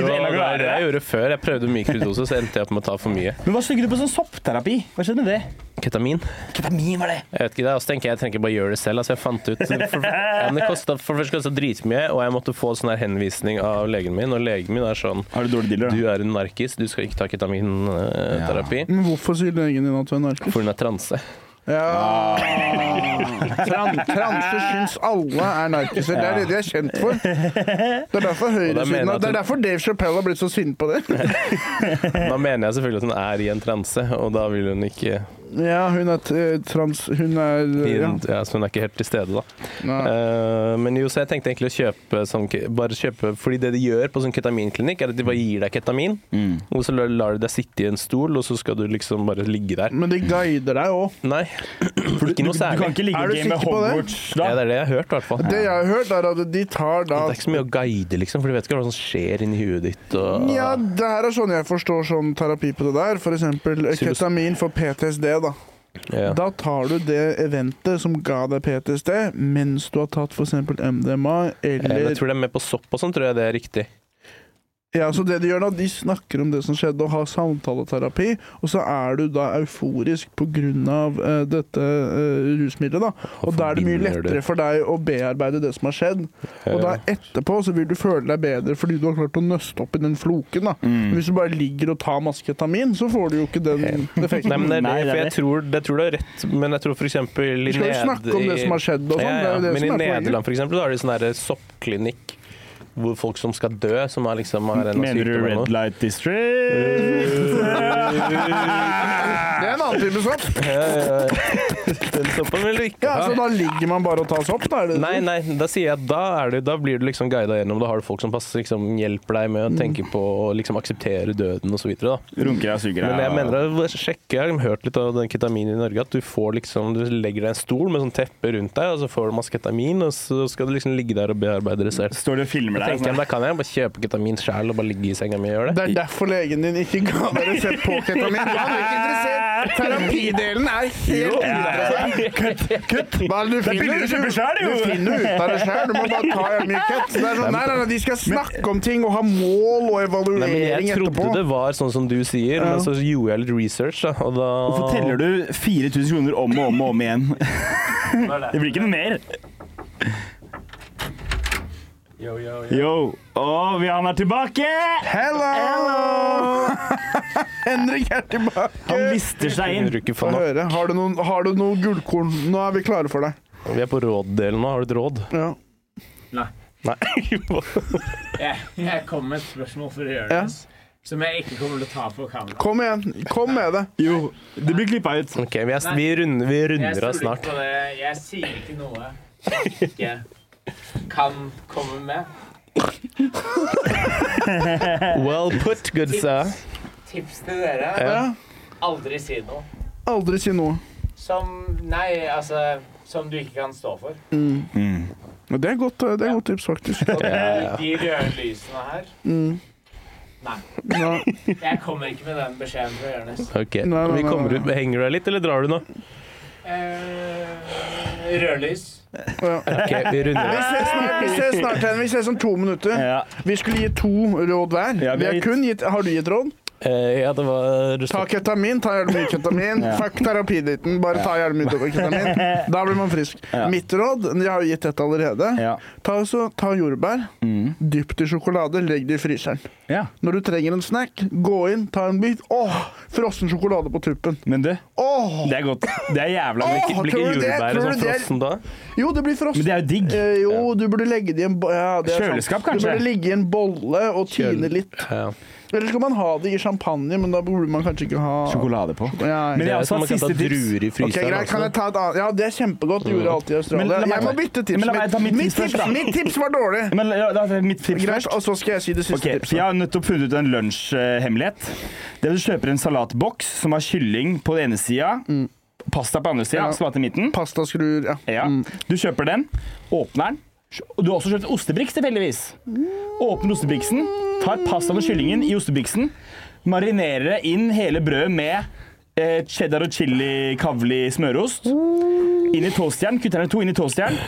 Jo,
ikke
det
du enda
var det
gladere?
jeg gjorde før. Jeg prøvde mikrodose, så endte jeg opp med å ta for mye.
Men hva tenker du på sånn soppterapi? Hva skjedde med det?
Ketamin.
Ketamin var det.
Jeg vet ikke det, og så tenker jeg jeg trenger ikke bare gjøre det selv. Altså, jeg fant ut For, ja, men det kostet, for det første kostet det dritmye, og jeg måtte få sånn her henvisning av legen min, og legen min er sånn
Har du dårlig dealer,
Du
da?
er en narkis, du skal ikke ta ketaminterapi.
Men hvorfor sier legen din at du er narkis?
For Ah. hun er transe.
Ja. Tran transer syns alle er narkiser. Det er det de er kjent for. Det er derfor
da mener
høyresiden
jeg at
Det er
hun-
derfor Dave Chappelle har blitt så sint på det.
Da mener jeg selvfølgelig at hun er i en transe, og da vil hun ikke
Ja, hun er t- eh, trans... Hun er eh, ja.
ja, Så hun er ikke helt til stede, da.
Nei.
Eh, men jo, så jeg tenkte egentlig å kjøpe sånn ke- Bare kjøpe Fordi det de gjør på sånn ketaminklinikk, er at de bare gir deg ketamin,
Mm.
og så lar- lar de deg sitte i en stol, og så skal du liksom bare ligge der.
Men de guider deg òg.
Nei. ikke noe
Du
særlig.
kan ikke ligge
Er du
i game med
sikker på det?
Hogwarts,
Ja,
da.
det er det jeg har hørt, i hvert fall.
Det jeg har hørt, er at de tar da
Det er ikke så mye å guide, liksom, for du vet ikke hva som skjer inni huet ditt. Og...
ja, det her er sånn jeg forstår sånn terapi på det der. For eksempel eh,
Psylos-
ketamin for PTSD, da.
Ja.
Da tar du det eventet som ga deg PTSD, mens du har tatt for eksempel MDMA
Eh, Men
eller
jeg tror det er med på sopp og sånn, tror jeg det er riktig.
Ja, så det De gjør da, de snakker om det som skjedde, og har samtaleterapi. Og så er du da euforisk pga. Uh, dette eh, rusmiddelet. da. Og da er det mye
forbinder
lettere for deg å bearbeide det som har skjedd. Og da
Eh,
etterpå så vil du føle deg bedre fordi du har klart å nøste opp i den floken.
Mm.
da. Men Hvis du bare ligger og tar masse ketamin, så får du jo ikke den
Nei,
effekten.
men det, er
Nei,
det,
det er
for jeg
det.
tror, jeg tror det er rett, men jeg tror for eksempel
Du
i
skal jo snakke om det som har skjedd, og sånn.
Ja,
det
ja.
er jo det
Men i
som er poenget.
Nederland for eksempel, så har de sånn der soppklinikk hvor folk som skal dø, som har liksom har en
Mener du
sykdom eller
Red
noe.
Light District?
Det er en annen type sopp.
Ja, ja, ja. Eh, Den soppen vil du ikke
sånn. Ja,
ha.
så da ligger man bare og tas opp, da? Er det sånn?
Nei, nei, da sier jeg at da, er du, da blir du liksom guida gjennom. Da har du folk som passer, liksom, hjelper deg med å tenke på å liksom, akseptere døden osv.
Runker deg og suger
Men
deg.
jeg mener å sjekke, jeg har hørt litt av den ketaminen i Norge, at du får liksom, du legger deg i en stol med sånn teppe rundt deg, og så får du masse ketamin, og så skal du liksom ligge der og bearbeide det selv.
Står de og filmer
Da
deg?
tenker jeg, da kan jeg bare kjøpe ketamin sjæl og bare ligge i senga mi og
Det
gjøre det.
er derfor legen din ikke ga deg resept på ketamin. Han er ikke interessert. Terapidelen er helt uinteressant. Kutt! Hva er det du
er
finner?
billigere å kjøpe selv, jo.
Du finner jo ut av det sjøl. Du må bare ta en mykhet. Det er sånn, nei, nei, nei, de skal snakke om ting og ha mål og
Nei, men
evaluering
jeg trodde
etterpå.
det var sånn som du sier, men så gjorde jeg litt research, da, og da
Hvorfor teller du 4000 kroner om og om og om igjen? Det blir ikke noe mer. Yo, Å, vi- han er tilbake!
Hello! Henrik er tilbake.
Han lister seg inn.
Bruker
Få
faen opp.
høre. Har du noen, har du noen gullkorn? Nå er vi klare for deg.
Vi er på råddelen nå. Har du et råd?
Ja.
Nei.
Jeg, jeg kom med et spørsmål for Jonis, som jeg ikke kommer til å ta på kamera.
Kom igjen. Kom med det.
Jo, det blir klippa ut.
Ok, vi, er, vi runder, vi
Jeg
runder av
stoler
snart.
ikke på det. Jeg sier ikke noe jeg ikke kan komme med.
Well put, good sir.
Tips til dere.
Ja.
Aldri si noe
Aldri si noe.
som Nei, altså Som du ikke kan stå for.
Men Det er godt, eh, det er godt tips, faktisk.
Og de- de røde lysene her
Ja.
Jeg kommer ikke med den beskjeden fra Jonis.
Ok,
Nei, nei,
vi
nei,
kommer
nei.
ut. Henger du deg litt, eller drar du nå?
Eh, rødlys.
Ja.
Ok, vi runder
Vi
av.
ses snart, vi ses snart Henrik. Vi ses om to minutter.
Ja.
Vi skulle gi to råd hver.
Ja,
vi
vi har
har,
gitt-
kun gitt, har du gitt råd?
Eh, ja, det var
Ta ketamin, ta jævlig mye ketamin.
Ja.
Fuck terapiditen, bare ta jævlig mye ketamin. Da blir man frisk.
Ja.
Mitt råd, jeg har jo gitt dette allerede,
Ja. Mm.
ta, også, ta jordbær, dypp det i sjokolade, legg det i fryseren.
ja.
Når du trenger en snack, gå inn, ta en bit. Åh, frossen sjokolade på tuppen.
Men du,
Åh!
det er godt. Det er jævla
Åh,
godt.
Blir ikke
tror du det?
jordbæret
Tror du
sånn
det er-
frossen da?
Jo, det blir frossen.
Men det er jo digg.
Eh, jo, du burde legge det i en bo- ja, det er sant.
Kjøleskap,
Du
kanskje?
burde ligge i en bolle og tyne
Kjøl-
litt.
Ja.
Eller skal man ha det i champagne, men da burde man kanskje ikke ha
Sjokolade på.
Ja,
Men
Det
jeg
er jo
har også
sånn man
hatt
kan ta
siste tips.
druer i
Ok,
fryseren.
greit, kan jeg
altså.
ta et annet? Ja, det er kjempegodt. Det gjorde jeg alltid i
Mm. Men la
Australia.
meg
Jeg
ta-
må bytte tips.
Men la meg ta mitt tips først, da.
mitt tips var dårlig.
Men ja, da er mitt tips
Greit,
først.
og så skal jeg si det siste
Ok, så
tipset.
Jeg har nettopp funnet ut en lunsjhemmelighet. Det er at du kjøper en salatboks som har kylling på den ene sida, pasta på den andre sida,
Mm. Ja.
salat i midten. Mm.
Pastaskruer, ja.
Ja. Du kjøper den, åpner den, Og du har også kjøpt en ostebriks tilfeldigvis. Åpner ostebriksen, tar pastaen og kyllingen i ostebriksen, marinerer det inn hele brødet med eh, cheddar og chili kavli smørost. Inn i toastjern, kutter den i to inn i toastjern.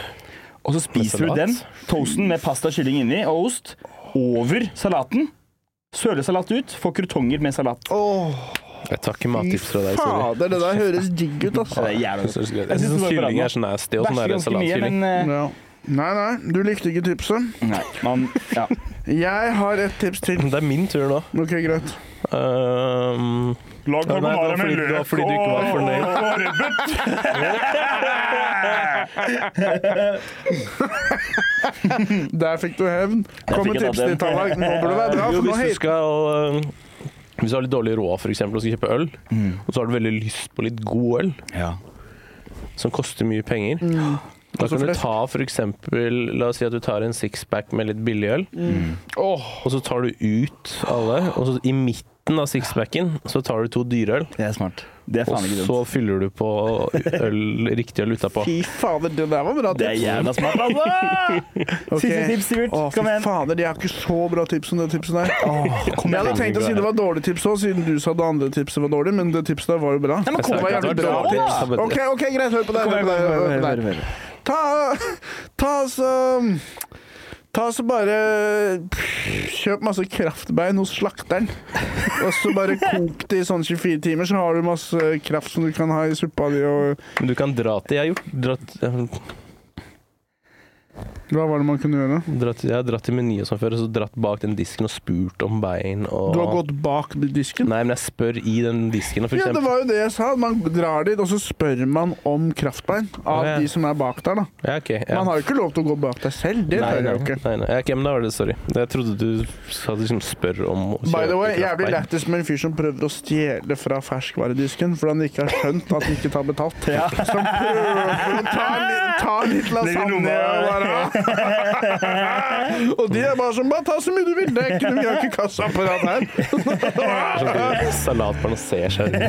Og så spiser du
salat?
den, toasten med pasta og kylling inni og ost, over salaten. Søler salat ut, får krutonger med salat.
Jeg tar ikke mattips fra deg, sorry.
Fader, det der høres digg ut, altså.
Det er jævlig godt.
Jeg syns sånn kylling er så nasty, og sånn
Bæsjer
er det
ganske mye,
salatkylling.
men eh,
Ja. Nei, nei, du likte ikke tipset.
Mm.
Nei, man Ja.
Jeg har et tips til.
Det er min tur nå.
Ok, greit.
Um,
Lag
Ja, nei, det var
carbonara med
fordi- det var
løk
fordi du ikke var fornøyd.
og rødbet.
Der fikk du hevn. Kom med
fikk en
tips til
av dem.
Tallak. Nå burde det være bra, for nå
jo, hvis du
hater
skal um, Hvis du har litt dårlig råd, f.eks., og skal kjøpe øl,
Mm.
og så har du veldig lyst på litt god øl, som koster mye penger Da
Koster
kan du
flest.
ta for eksempel, La oss si at du tar en sixpack med litt billig øl,
Mm.
og så tar du ut alle, og så i midten av sixpacken så tar du to dyreøl,
Det er smart. Det er
og
faen ikke dumt.
så fyller du på øl, riktig øl utapå.
Fy fader, det der var bra
Det er
tips.
jævla smart, altså!
Ok.
Siste tips, Sivert.
Å, fy
Kom igjen.
fader, de har ikke så bra tips som det tipset der.
kom
jeg
igjen.
hadde tenkt å si det var dårlig tips òg, siden du sa det andre tipset var dårlig, men det tipset der var jo bra.
men
Jeg sa
det var
ikke at
jævlig
det
bra
var dårlig
tips.
tips, da, men-
OK, ok, greit, hør på deg. Hør på deg, hør på deg. Ta Ta så Ta så bare Kjøp masse kraftbein hos slakteren. Og så bare kok det i sånn 24 timer, så har du masse kraft som du kan ha i suppa di og
Men du kan dra til Jeg har gjort dratt,
Hva var det man kunne gjøre?
dratt, Jeg har dratt til Meny og sånn før, og så dratt bak den disken og spurt om bein og
Du har gått bak disken?
Nei, men jeg spør i den disken, og for
Ja, det
eksempel.
var jo det jeg sa. Man drar dit, og så spør man om kraftbein av
Ja, ja.
de som er bak der, da.
Ja, ok. Ja.
Man har jo ikke lov til å gå bak deg selv. Det
Nei,
tør
nei,
jeg jo ikke.
Nei, nei. Ja, ok, men da var det sorry. Jeg trodde du sa at du liksom spør om å
By
kjøpe
the way, jeg blir
kraftbein.
lættis med en fyr som prøver å stjele fra ferskvaredisken fordi han ikke har skjønt at han ikke tar betalt.
Ja.
Så han prøver å ta, litt- ta litt lasagne og bare Og de er bare sånn Bare ta så mye du vil, det er ikke noe, vi har ikke kassaapparat her.
Sånn, Salat balanserer seg rundt.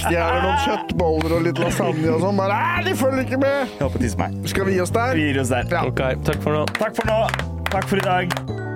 Stjeler noen kjøttboller og litt lasagne og sånn. Bare "Æ, de følger ikke med!
Jeg håper å tisse meg.
Skal vi gi oss der?
Vi gir oss der.
Ok, takk for nå.
Takk for nå. Takk for i dag.